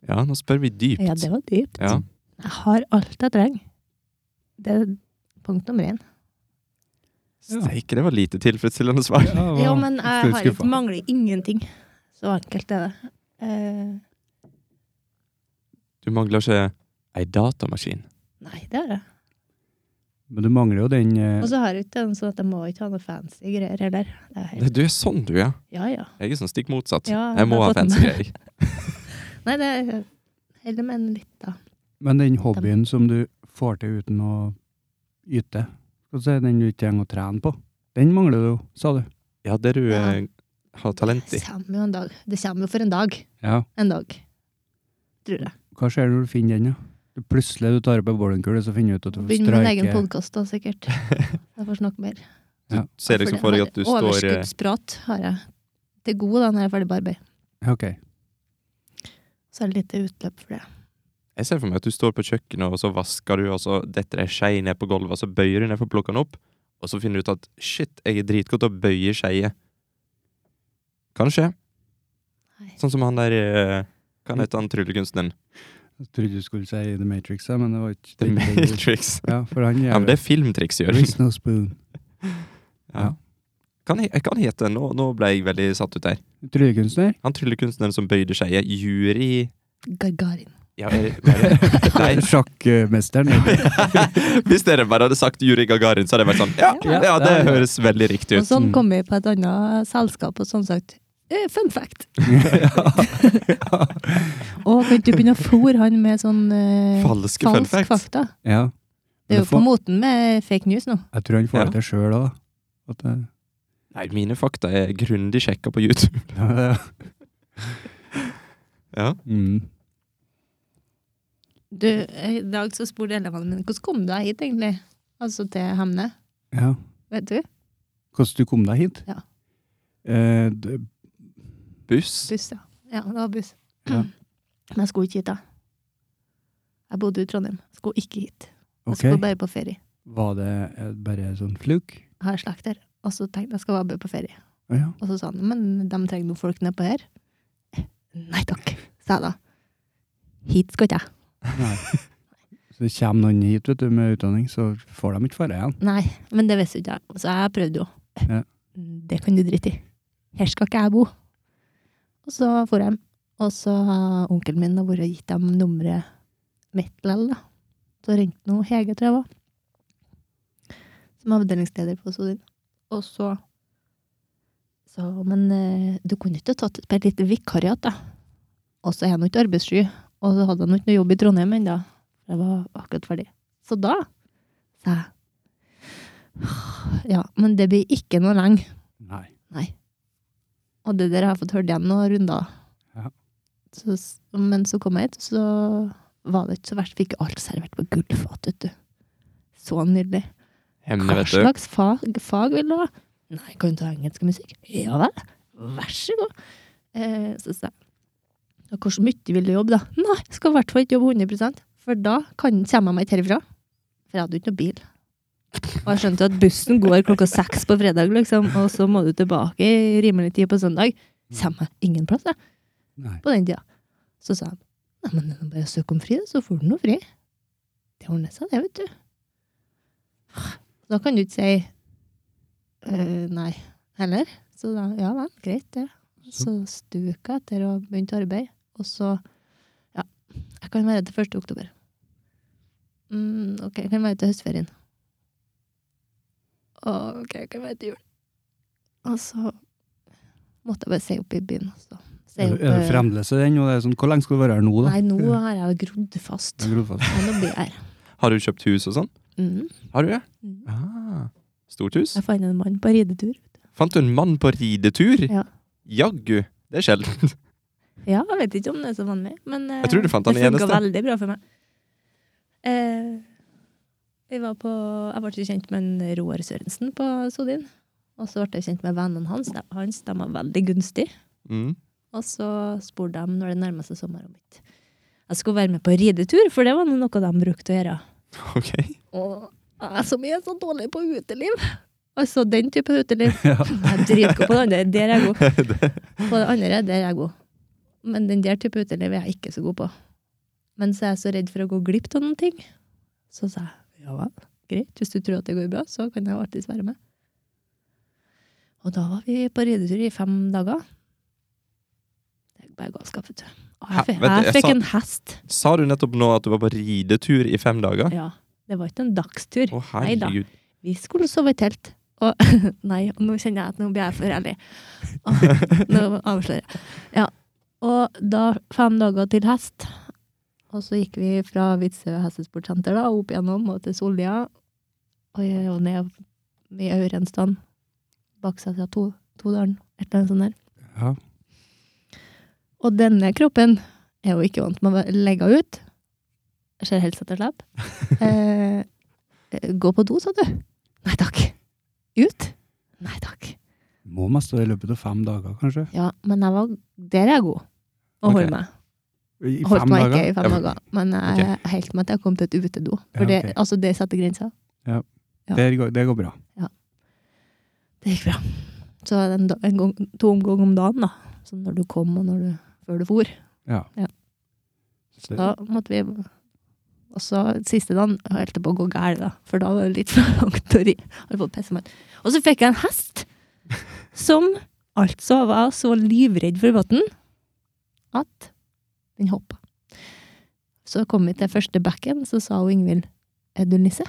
B: Ja, nå spør vi dypt.
C: Ja, det var dypt.
B: Ja.
C: Jeg har alt jeg trenger. Det er punkt nummer én.
A: Ja.
B: Steike, det var lite tilfredsstillende svar.
A: det
C: Jo,
A: var
C: men jeg har
A: skuffa.
C: ikke mangler ingenting. Så enkelt er det. Eh,
B: Du mangler ikke ei datamaskin.
C: nei, det er det.
A: Men du mangler jo den eh,
C: Og så har jeg ikke den sånn at jeg må ikke ha noe fancy greier heller. Det er
B: Nei,
C: helt,
B: Du er sånn, du, ja.
C: ja, ja.
B: Jeg er sånn stikk motsatt.
C: Ja,
B: jeg må ha
C: jeg sånn. har fått den.
B: fancy greier.
C: Nei, det er heller med en litt, da.
A: Men den hobbyen som du får til uten å yte, skal du si, den du ikke trenger å trene på, den mangler du jo, sa du.
B: Ja, det du
C: Ja.
B: eh, har talent i.
C: Det kommer jo en dag. Det kommer jo for en dag.
A: Ja.
C: En dag. Tror jeg.
A: Hva skjer når du finner den, da? Du plutselig du tar opp ei bowlingkule, så finner du ut at du
C: Begynner med en egen
A: streiker
C: podkast da, sikkert. Jeg får snakke mer.
A: Ja.
B: *laughs* Ser liksom for deg at du står eh,
C: Overskuddsprat har jeg til gode da når jeg er ferdig barber.
A: Ok.
C: Så er det lite utløp for det.
B: Jeg ser for meg at du står på kjøkkenet, og så vasker du, og så detter ei skei ned på gulvet, og så bøyer du ned for å plukke den opp, og så finner du ut at shit, jeg er dritgod til å bøye skeier. Kan det skje?
C: Nei.
B: Sånn som han der eh, Hva heter han tryllekunstneren?
A: Jeg trodde du skulle si The Matrix, ja, men det var ikke
B: The
A: det var ikke det du-
B: Matrix.
A: Ja, for han
B: Ja,
A: gjør
B: men det er filmtriks,
A: There
B: *laughs* Jørgen.
A: is no spoon.
B: Kan jeg, jeg kan hete det. Nå, nå ble jeg veldig satt ut der.
A: Tryllekunstner?
B: Han tryllekunstneren som bøyde skeier. Juri
C: Gagarin.
B: Ja, er, det- er det- *laughs* Nei.
A: *laughs* Sjakkmesteren?
B: *laughs* Hvis dere bare hadde sagt Juri Gagarin, så hadde jeg vært sånn Ja,
A: Ja.
B: ja det høres veldig riktig
C: Og
B: ut.
C: sånn kom vi på et annet selskap og sånn sagt eh, Fun fact! Og kan ikke du begynne å fôre han med sånn eh,
B: Falske fun
C: falsk
B: facts.
C: fakta?
A: *laughs* Ja. Men
C: Det er jo på
A: får-
C: moten med fake news nå.
A: Jeg tror han får
B: Ja.
A: det til sjøl òg, da. eh,
B: Nei, mine fakta er grundig sjekka på YouTube.
A: *laughs* At det,
B: *laughs* Ja.
A: mm.
C: Du, eh, I dag så spurte elevene mine hvordan kom du deg hit, egentlig? Altså til Hemne.
A: ja.
C: Vet du?
A: Hvordan du kom deg hit?
C: Ja.
A: Eh, det,
B: Buss.
C: Buss, ja. Ja, det var buss.
A: Ja.
C: *clears throat* Men jeg skulle ikke hit, da. Jeg bodde i Trondheim. Jeg Skulle ikke hit. Jeg
A: ok.
C: skulle bare på ferie.
A: Var det eh, bare sånn fluk?
C: Jeg har slakt der. Og så tenkte jeg jeg skal være bare på ferie.
A: Å ja.
C: Og så sa han men de trenger noen folk nedpå her. *laughs* *laughs* Nei takk, sa jeg da. Hit skal ikke jeg.
A: Nei. Det kommer noen hit vet du, med utdanning, så får de ikke fare igjen.
C: Nei, men det visste jo ikke jeg. Så jeg prøvde jo.
A: Ja.
C: Det kan du drite i. Her skal ikke jeg bo. Og så for jeg. Og så har onkelen min har vært og gitt dem nummeret mitt likevel, da. Så ringte nå Hege, tror jeg var. Som avdelingsleder på Sodin. Og så Så, men eh, du kunne ikke tatt et per lite vikariat, da. Og så er han jo ikke arbeidssky. Og så hadde han jo ikke noe jobb i Trondheim ennå. Jeg var akkurat ferdig. Så da sa jeg ja, men det blir ikke noe lenge.
A: Nei.
C: Og det der har jeg fått hørt igjen noen runder.
A: Ja.
C: Så, s- men så kom jeg hit, så var det ikke så verst. Fikk alt servert på gullfat, vet du. Så nydelig.
B: Hemne,
C: Hva
B: vet du.
C: slags fag, fag vil du ha? Nei, kan du ta engelsk musikk? Ja vel, vær så god. Eh, så sa jeg, «Ja, hvor så mye vil du jobbe da? Nei, jeg skal i hvert fall ikke jobbe 100 for da kan, kommer jeg meg ikke herfra. For jeg hadde jo ikke noe bil. Og jeg skjønte jo at bussen går klokka seks på fredag, liksom, og så må du tilbake i rimelig tid på søndag. Kommer jeg ingen plass, jeg
A: Nei.
C: på den tida. Så sa han Nei, men det er bare å søke om fri, så får du noe fri. Det ordner seg, det, vet du. Da kan du ikke si «Øh, nei heller. Så da, ja vel, greit det. Så stuka jeg etter og begynte arbeid. Og så Ja, jeg kan være til 1. oktober. Mm, ok, jeg kan være til høstferien. Og ok, jeg kan være til jul. Og så måtte jeg bare si opp i byen. Så. Si
A: Er,
C: opp,
A: du- er du
C: eh,
A: fremdeles i den? Og det er sånn, hvor lenge skal du være her nå, da?
C: Nei, nå har jeg jo grodd fast.
A: Jeg gror fast.
C: Men nå blir jeg her.
B: Har du kjøpt hus og sånn?
C: Mm.
B: Har du det?
C: Mm.
B: Ah, stort hus?
C: Jeg fant en mann på ridetur.
B: Fant du en mann på ridetur?
C: Ja.
B: Jaggu, det er *laughs* sjeldent.
C: Ja, jeg vet ikke om det er så vanlig, men eh,
B: Jeg tror du fant han i
C: det funka
B: eneste.
C: veldig bra for meg. Eh, vi var på, jeg ble kjent med en Roar Sørensen på Sodin. Og så ble jeg kjent med vennene hans. De- hans. De var veldig gunstig.
B: Mm.
C: Og så spurte de når det nærma seg sommeren mitt. Jeg skulle være med på ridetur, for det var nå noe de brukte å gjøre.
B: Ok.
C: Og jeg som er så dårlig på uteliv. Altså den type
B: *laughs*
C: uteliv.
A: Ja.
C: Jeg er dritgod på det andre. Der er jeg god.
B: *laughs* Det-
C: På det andre, der er jeg god. Men den der type uteliv er jeg ikke så god på. Men så er jeg så redd for å gå glipp av noen ting. Så sa jeg ja vel, greit, hvis du tror at det går bra, så kan jeg jo alltids være med. Og da var vi på ridetur i fem dager. Det er bare galskap, vet du. Og
B: Hæ,
C: jeg, fikk-
B: vet du,
C: jeg
B: jeg
C: fikk
B: sa-
C: en hest.
B: Sa du nettopp nå at du var på ridetur i fem dager?
C: Ja, det var ikke en dagstur.
B: Å,
C: Neida.
B: herregud.
C: Vi skulle sove i telt. Og *laughs* nei, og nå kjenner jeg at nå blir jeg for ærlig. Åh, *laughs* Nå avslører jeg. Ja. Og da fem dager til hest. Og så gikk vi fra Witzøe hestesportsenter da, opp igjennom og til Sollia. Og jeg- og ned i Aurenstan. Baksetet av to, Todalen. Et eller annet sånt der.
A: Ja.
C: Og denne kroppen er jo ikke vant med å være- legge ut. Jeg ser helst at jeg slipper. Eh, gå på do, sa du. Nei takk. Ut? Nei takk.
A: Må mest i løpet av fem dager, kanskje.
C: Ja, men jeg var, der er jeg god. Å holde
B: Ok.
C: meg.
A: I
C: Holdt
A: fem
C: meg
A: dager?
C: ikke i fem
B: Ja, men-
C: dager. Men jeg er helt med at jeg kom til et utedo. For
A: Ja,
C: det,
A: ok.
C: altså, det setter grenser. ja.
A: Det går, det går bra.
C: Det gikk bra. Så en, da- en gang, to omganger om dagen, da. Så når du kom, og når du, før du for.
A: Ja.
C: Ja.
A: Så-
C: Da måtte vi Og så siste dagen holdt det på å gå gæren, da. For da var det litt *laughs* for langt å ri. Holdt på å pisse meg ut. Og så fikk jeg en hest! Som altså var så livredd for vann at den hoppa. Så kom vi til første bekken, så sa hun Ingvild Er du nisse?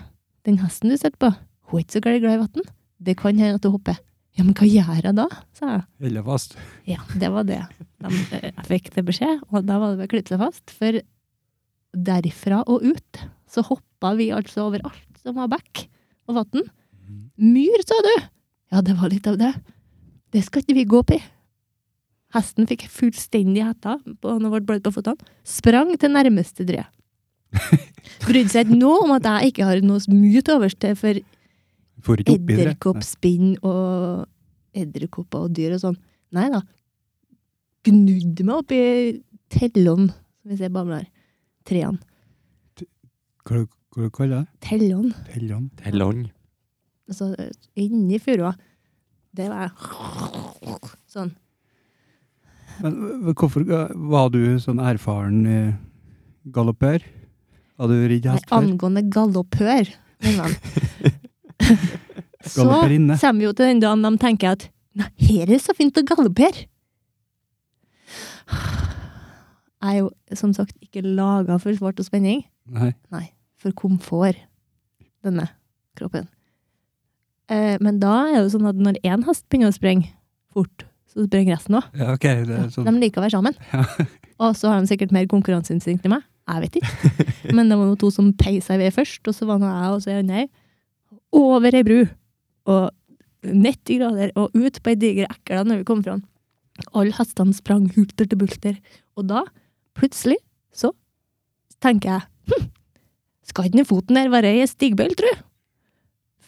C: Den hesten du sitter på, hun er ikke så glad glad i vann. Det kan hende at hun hopper. Ja, men hva gjør jeg da? sa jeg.
A: Holder fast.
C: Ja, det var det. De, jeg fikk det beskjed, og da var det bare å klippe seg fast. For derfra og ut så hoppa vi altså over alt som var bekk og vann. Myr, sa du! Ja, det var litt av det. Det skal ikke vi gå opp i. Hesten fikk fullstendig hetta på når ble blødd på føttene. Sprang til nærmeste tre. Brydde seg ikke nå om at jeg ikke har noe mye til overs til for
A: Får ikke opp videre.
C: edderkoppspinn og edderkopper og dyr og sånn. Nei da. Gnudde meg opp i tellene, som vi ser babler. Treene.
A: Hva, hva du kaller du det?
C: Tellene.
A: Tellene?
B: Det er lang.
C: Altså inni furua. Det var jeg. Sånn.
A: Men øh, hvorfor ga- var du sånn erfaren eh, galoppør? Har du ridd
C: Nei,
A: hest før?
C: angående galoppør, mener han. så
A: Galopperinne.
C: kommer vi jo til den dagen de tenker at Nei, her er det så fint å galoppere. Jeg er jo som sagt ikke laga for fart og spenning,
A: Nei.
C: for komfort, denne kroppen. Eh, men da er det jo sånn at når én hest begynner å sprenge fort, så sprenger resten òg.
A: Ja, ok, det er
C: De
A: sånn.
C: liker å være sammen.
A: *laughs* Ja.
C: Og så har de sikkert mer konkurranseinstinkt enn meg. Jeg vet ikke. *laughs* Men det var noen to som peisa i vei først, og så var nå jeg og så ei andre over ei bru. Og 90 grader, og ut på ei diger ekle når vi kom fram. Alle hestene sprang hulter til bulter. Og da, plutselig, så tenker jeg hm, skal ikke den foten der være ei stigbøyle, tru?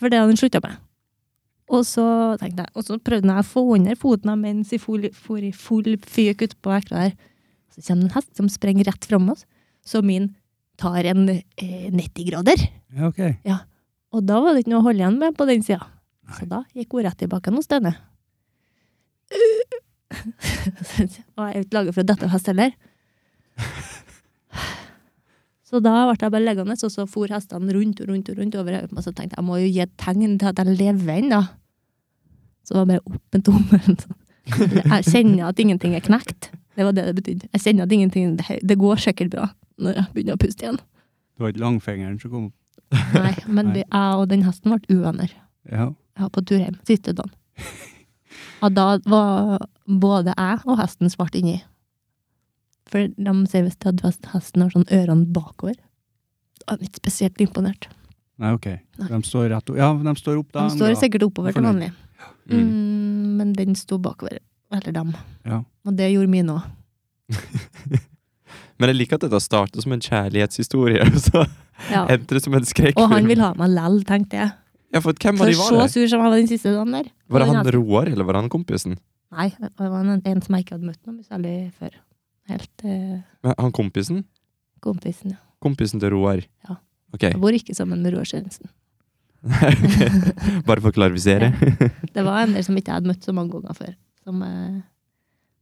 C: For det hadde den slutta med. Og så tenkte jeg, og så prøvde jeg å få under foten av mens jeg for, for i full fyk utpå ekla der. Så kommer det en hest som sprenger rett fram oss, så min tar en eh, 90 grader.
A: Ja, ok.
C: Og da var det ikke noe å holde igjen med på den sida. Så da gikk hun rett i bakken hos denne. *laughs* Så- og jeg er jo ikke laget for å dette av hest heller. Så da ble jeg bare liggende, og så for hestene rundt og rundt og rundt over hodet på meg. Så tenkte jeg jeg må jo gi et tegn til at jeg lever ennå. Så var det bare opp med tommelen. sånn. Jeg kjenner at ingenting er knekt. Det var det det betydde. Jeg kjenner at ingenting Det går sikkert bra når jeg begynner å puste igjen.
A: Det var ikke langfingeren som kom opp.
C: Nei, men
A: Nei.
C: vi, jeg og den hesten ble uvenner.
A: Ja.
C: Ja, på tur hjem. Siste dagen. Og da var både jeg og hesten svart inni. For de sier visst at hesten har sånn ørene bakover. Jeg er ikke spesielt imponert.
A: Nei, ok.
C: Nei.
A: De står rett opp. Ja, de står opp da.
C: De står sikkert oppover til
A: Fornøyd.
C: vanlig.
B: Mm.
C: Mm, men den sto bakover. Eller dem.
A: Ja.
C: Og det gjorde min òg.
B: Men jeg liker at dette starter som en kjærlighetshistorie, *laughs* og så
C: Ja.
B: endte det som en skrekkfilm.
C: Og han vil ha meg lell, tenkte jeg.
B: Ja, for hvem var
C: For
B: de var
C: så
B: det?
C: sur som jeg var den siste dagen der.
B: Var det
C: Og den
B: han
C: hesten-
B: Roar, eller var det han kompisen?
C: Nei, det var en, en som jeg ikke hadde møtt noe særlig før. Helt eh,
B: Men Han kompisen?
C: kompisen, ja.
B: Kompisen til Roar?
C: Ja.
B: Ok.
C: Jeg bor ikke sammen med Roar Sørensen.
B: *laughs* Ok. Bare for å
C: *laughs*
B: klarifisere.
C: Det var en del som ikke jeg hadde møtt så mange ganger før, som eh,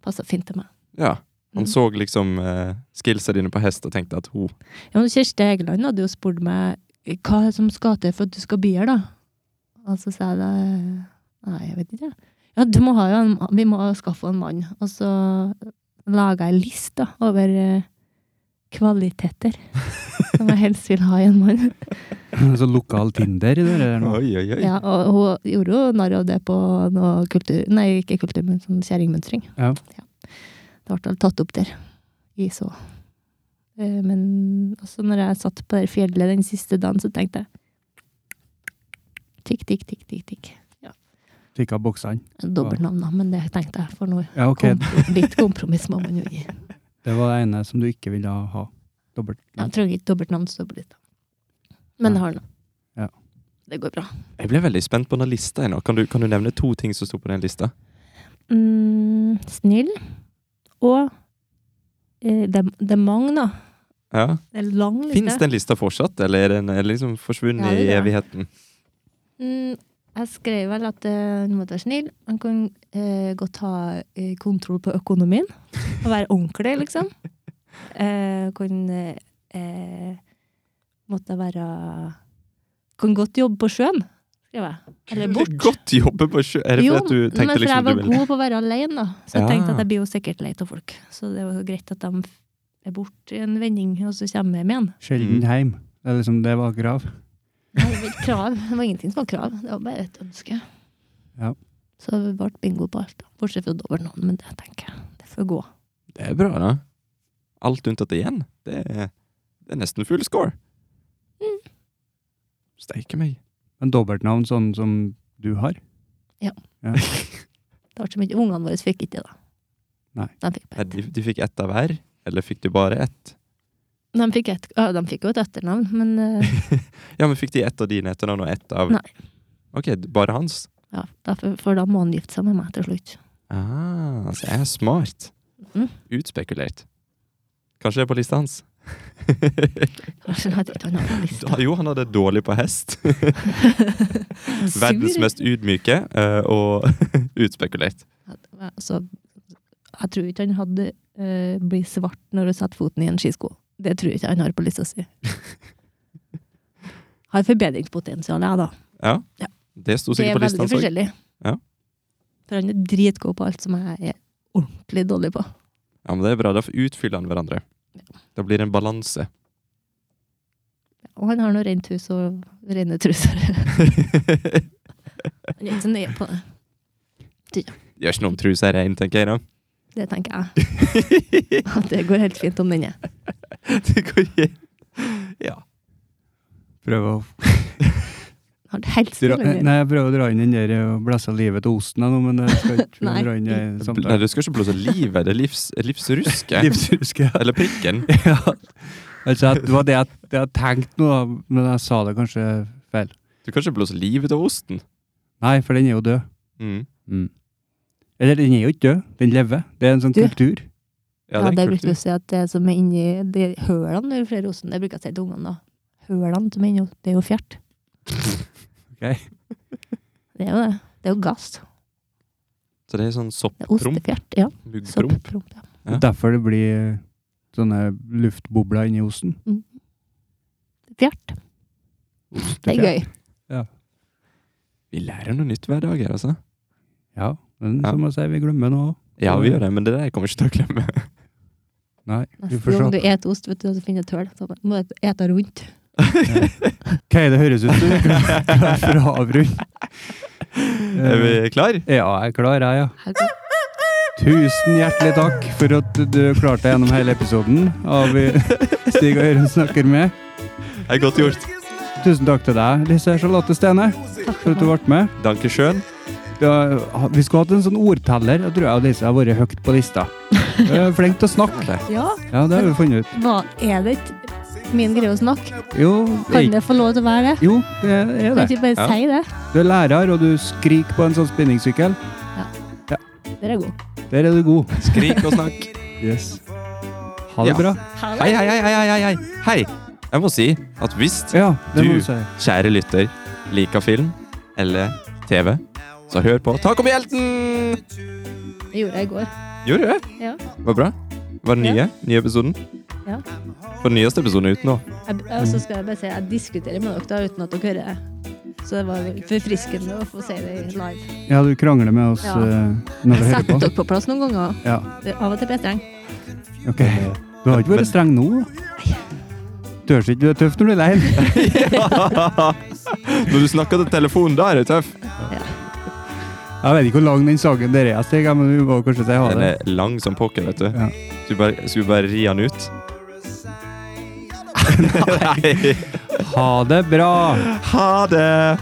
C: passa fint til meg.
B: Ja. Han
C: Mm.
B: så liksom eh, skillsa dine på hest og tenkte at oh, ho
C: Ja, men Kjersti Egeland hadde jo spurt meg hva som skal til for at du skal bli her, da. Og så sa jeg da Nei, jeg vet ikke. Ja, du må ha jo en, vi må skaffe en mann. Og så laga jeg ei list da, over eh, kvaliteter som jeg helst vil ha i en mann.
A: *laughs* Så lokal Tinder i det der nå.
B: Oi, oi, oi.
C: Ja, og hun gjorde jo narr av det på noe kultur... Nei, ikke kultur, men sånn kjerringmønstring.
A: Ja.
C: Det ble vel tatt opp der. I så. Eh, Men også når jeg satt på det fjellet den siste dagen, så tenkte jeg Tikk, tikk, tikk, tikk. tikk.
A: Fikk av boksene.
C: Dobbeltnavn, da, men det tenkte jeg, for nå
A: Ja, ok.
C: kom, litt kompromiss må man jo gi.
A: Det var det ene som du ikke ville ha. Dobbelt.
C: Jeg trenger ikke dobbeltnavn, så blir det Men jeg har nå.
A: Ja.
C: Det går bra.
B: Jeg ble veldig spent på den lista. jeg nå. Kan du, kan du nevne to ting som sto på den lista?
C: Mm, snill. Og eh, det, det er mange, da.
B: Ja.
C: Det er lang liste.
B: Fins den lista fortsatt, eller er den er den liksom forsvunnet
C: Ja, det
B: i
C: er det.
B: evigheten?
C: Mm, jeg skrev vel at eh, han måtte være snill. Han kan eh, godt ha eh, kontroll på økonomien. Og være ordentlig, liksom.
B: *laughs*
C: Eh, kan eh, eh, måtte være Kan godt jobbe på sjøen, skrev jeg. Eller bort.
B: *laughs* Godt jobbe på sjø... Er det
C: Jo,
B: fordi at du tenkte
C: men for jeg
B: liksom
C: var
B: du ville
C: god på å være alene, da. Så jeg
B: Ja.
C: tenkte at jeg blir jo sikkert lei av folk. Så det var jo greit at de er borte i en vending, og så kommer jeg hjem igjen.
A: Sjelden heim. Det, er liksom, det var krav.
C: Nei, det var ikke krav. Det var ingenting som var krav. Det var bare et ønske.
A: Ja.
C: Så det ble bingo på alt. da. Bortsett fra dobbeltnavn, men det tenker jeg. Det får gå.
B: Det er bra, da. Alt unntatt igjen. Det er, det er nesten full score.
C: Mm.
B: Steike
C: *laughs*
B: meg.
A: Men dobbeltnavn sånn som du har?
C: Det ble så mye. Ungene våre fikk ikke det, da.
A: Nei.
C: De fikk,
B: Nei,
C: bare
B: De,
C: ett.
B: de fikk ett av hver, eller fikk de bare ett?
C: de fikk, et, ja, de fikk jo et etternavn, men eh,
A: *laughs*
B: Ja, men fikk de ett av dine etternavn og ett av
C: Nei.
B: Ok, d- bare hans?
C: ja, derfor, for da må han gifte seg med meg til slutt.
B: Ah, så jeg er smart.
C: Mm.
B: Utspekulert. Kanskje det er på lista hans?
C: Kanskje han hadde ikke han hadde en
A: *laughs*
C: liste.
B: Da, *laughs* jo, han hadde dårlig på
C: *laughs*
B: hest. Verdens
C: Sur.
B: mest ydmyke eh, og *laughs* utspekulert.
C: eh, Altså, jeg tror ikke han hadde uh, blitt svart når du satte foten i en skisko. Det tror jeg ikke han har på lista
A: *laughs*
C: si. Har forbedringspotensial, jeg, da.
B: Det sto
C: Det
B: sikkert
C: er
B: på lista.
C: veldig
B: hans også.
C: forskjellig.
B: Ja.
C: For han er dritgod på alt som jeg er ordentlig dårlig på.
B: Ja, men det er bra. Da utfyller han hverandre. Da blir det en balanse. *laughs*
C: Og han har noe rent hus og rene truser. Han er ikke så nøye på det.
B: Gjør ikke noe om trusa er rein, tenker jeg
C: *laughs*
B: da.
C: Det tenker jeg. At det går helt fint om den er.
B: Det går ikke. Ja.
A: Prøve å
C: Har det helt
A: dra,
C: stille med
A: nei, jeg prøver å dra inn den der eh, og blæsse livet til osten her nå, men jeg skal ikke prøve
C: *laughs* Nei.
A: å dra inn det i
B: Nei,
A: samtalen.
B: du skal ikke blåse livet. Det er livs, livsruske.
A: Livsruske.
B: Eller prikken.
A: *laughs* ja. Altså, jeg- det var det jeg, det jeg tenkte nå, da, men jeg sa det kanskje feil.
B: Du kan ikke blåse livet av osten.
A: Nei, for den er jo død.
B: Mm.
A: Eller den er jo ikke død, den lever. Det er en sånn
C: Du.
A: kultur.
C: Ja,
B: er en
C: det bruker
B: kultur.
C: du å si at det som er inni de hølene i flere osten, det bruker jeg å si til ungene da. Hølene som er inni, det er jo
B: *laughs*
C: fjert.
A: Ok.
C: Det er jo det. Det er jo gass.
B: Så det er sånn
C: Det er
B: sopppromp.
C: ostefjert, ja.
B: Muggpromp.
C: Sopppromp, ja.
B: Ja.
A: Derfor det blir eh, sånne luftbobler inni osten.
C: Mm. Fjert. Det er gøy.
B: Vi lærer noe nytt hver dag her, altså.
A: Ja, men
B: Ja.
A: som jeg sier, vi glemmer noe.
B: Ja, vi gjør det, men det der kommer jeg ikke til å glemme.
A: Nei, vi
C: Neste
A: får
C: gang du
A: se.
C: eter ost, vet du, og så finner du et høl, så må du ete rundt.
A: Ok, det høres ut som vi er klar- klar for å avrunde.
B: *laughs* Er vi klar?
A: Ja, jeg er klar, jeg, ja.
C: Her går-
A: Tusen hjertelig takk for at du klarte deg gjennom hele episoden av eh, Stig og Øren snakker med.
B: Det er godt gjort.
A: Tusen takk til deg, Lise Charlotte Stene, for at du ble med.
B: Danke schön.
A: Da, vi skulle hatt en sånn ordteller. Jeg tror jeg og Lise har vært høyt på lista. Du er flink til å snakke.
C: Ja,
A: Ja, det har vi funnet ut.
C: hva er det ikke min greie å snakke?
A: Jo,
C: Kan
A: det,
C: det få lov til å være det?
A: jo, det er
C: Kan
A: det.
C: du ikke bare
B: Ja.
C: si det?
A: Du er lærer, og du skriker på en sånn spinningsykkel.
C: Dere er gode.
A: Der er du god.
B: Skrik og snakk.
A: Yes. Ha det
B: Ja.
A: bra.
B: Hei, hei, hei, hei, hei, hei. Hei. Jeg må si at hvis
A: Ja, det må
B: Du.
A: du si.
B: kjære lytter liker film eller TV, så hør på Taco med hjelten!
C: Det gjorde jeg i går.
B: Gjorde du det?
C: Ja.
B: Var det bra? Var det nye?
C: Ja.
B: Nye episoden?
C: Ja.
B: For den nyeste episoden er ute nå. *laughs*
C: Jeg, og så skal jeg bare si jeg diskuterer med dere da, uten at dere hører det. Så det var forfriskende å få si det live.
A: Ja, du krangler med oss
C: Ja.
A: eh, når du hører
C: Sett
A: på.
C: dere på plass noen ganger.
A: Ja,
C: Det- Av og til blir jeg streng.
A: ok. Eh, Du har ikke
B: Men-
A: vært streng nå. Tørs ikke, du er tøff når du er lei.
B: Når du snakker til telefonen, da er du tøff.
A: Jeg vet ikke hvor lang den saken der er, Stig, men vi må kanskje si ha
B: Den
A: det.
B: er lang som pokker, vet du.
A: Ja.
B: Skulle bare, skulle bare ri den ut. Nei. *laughs*
A: Ha det bra!
B: Ha det!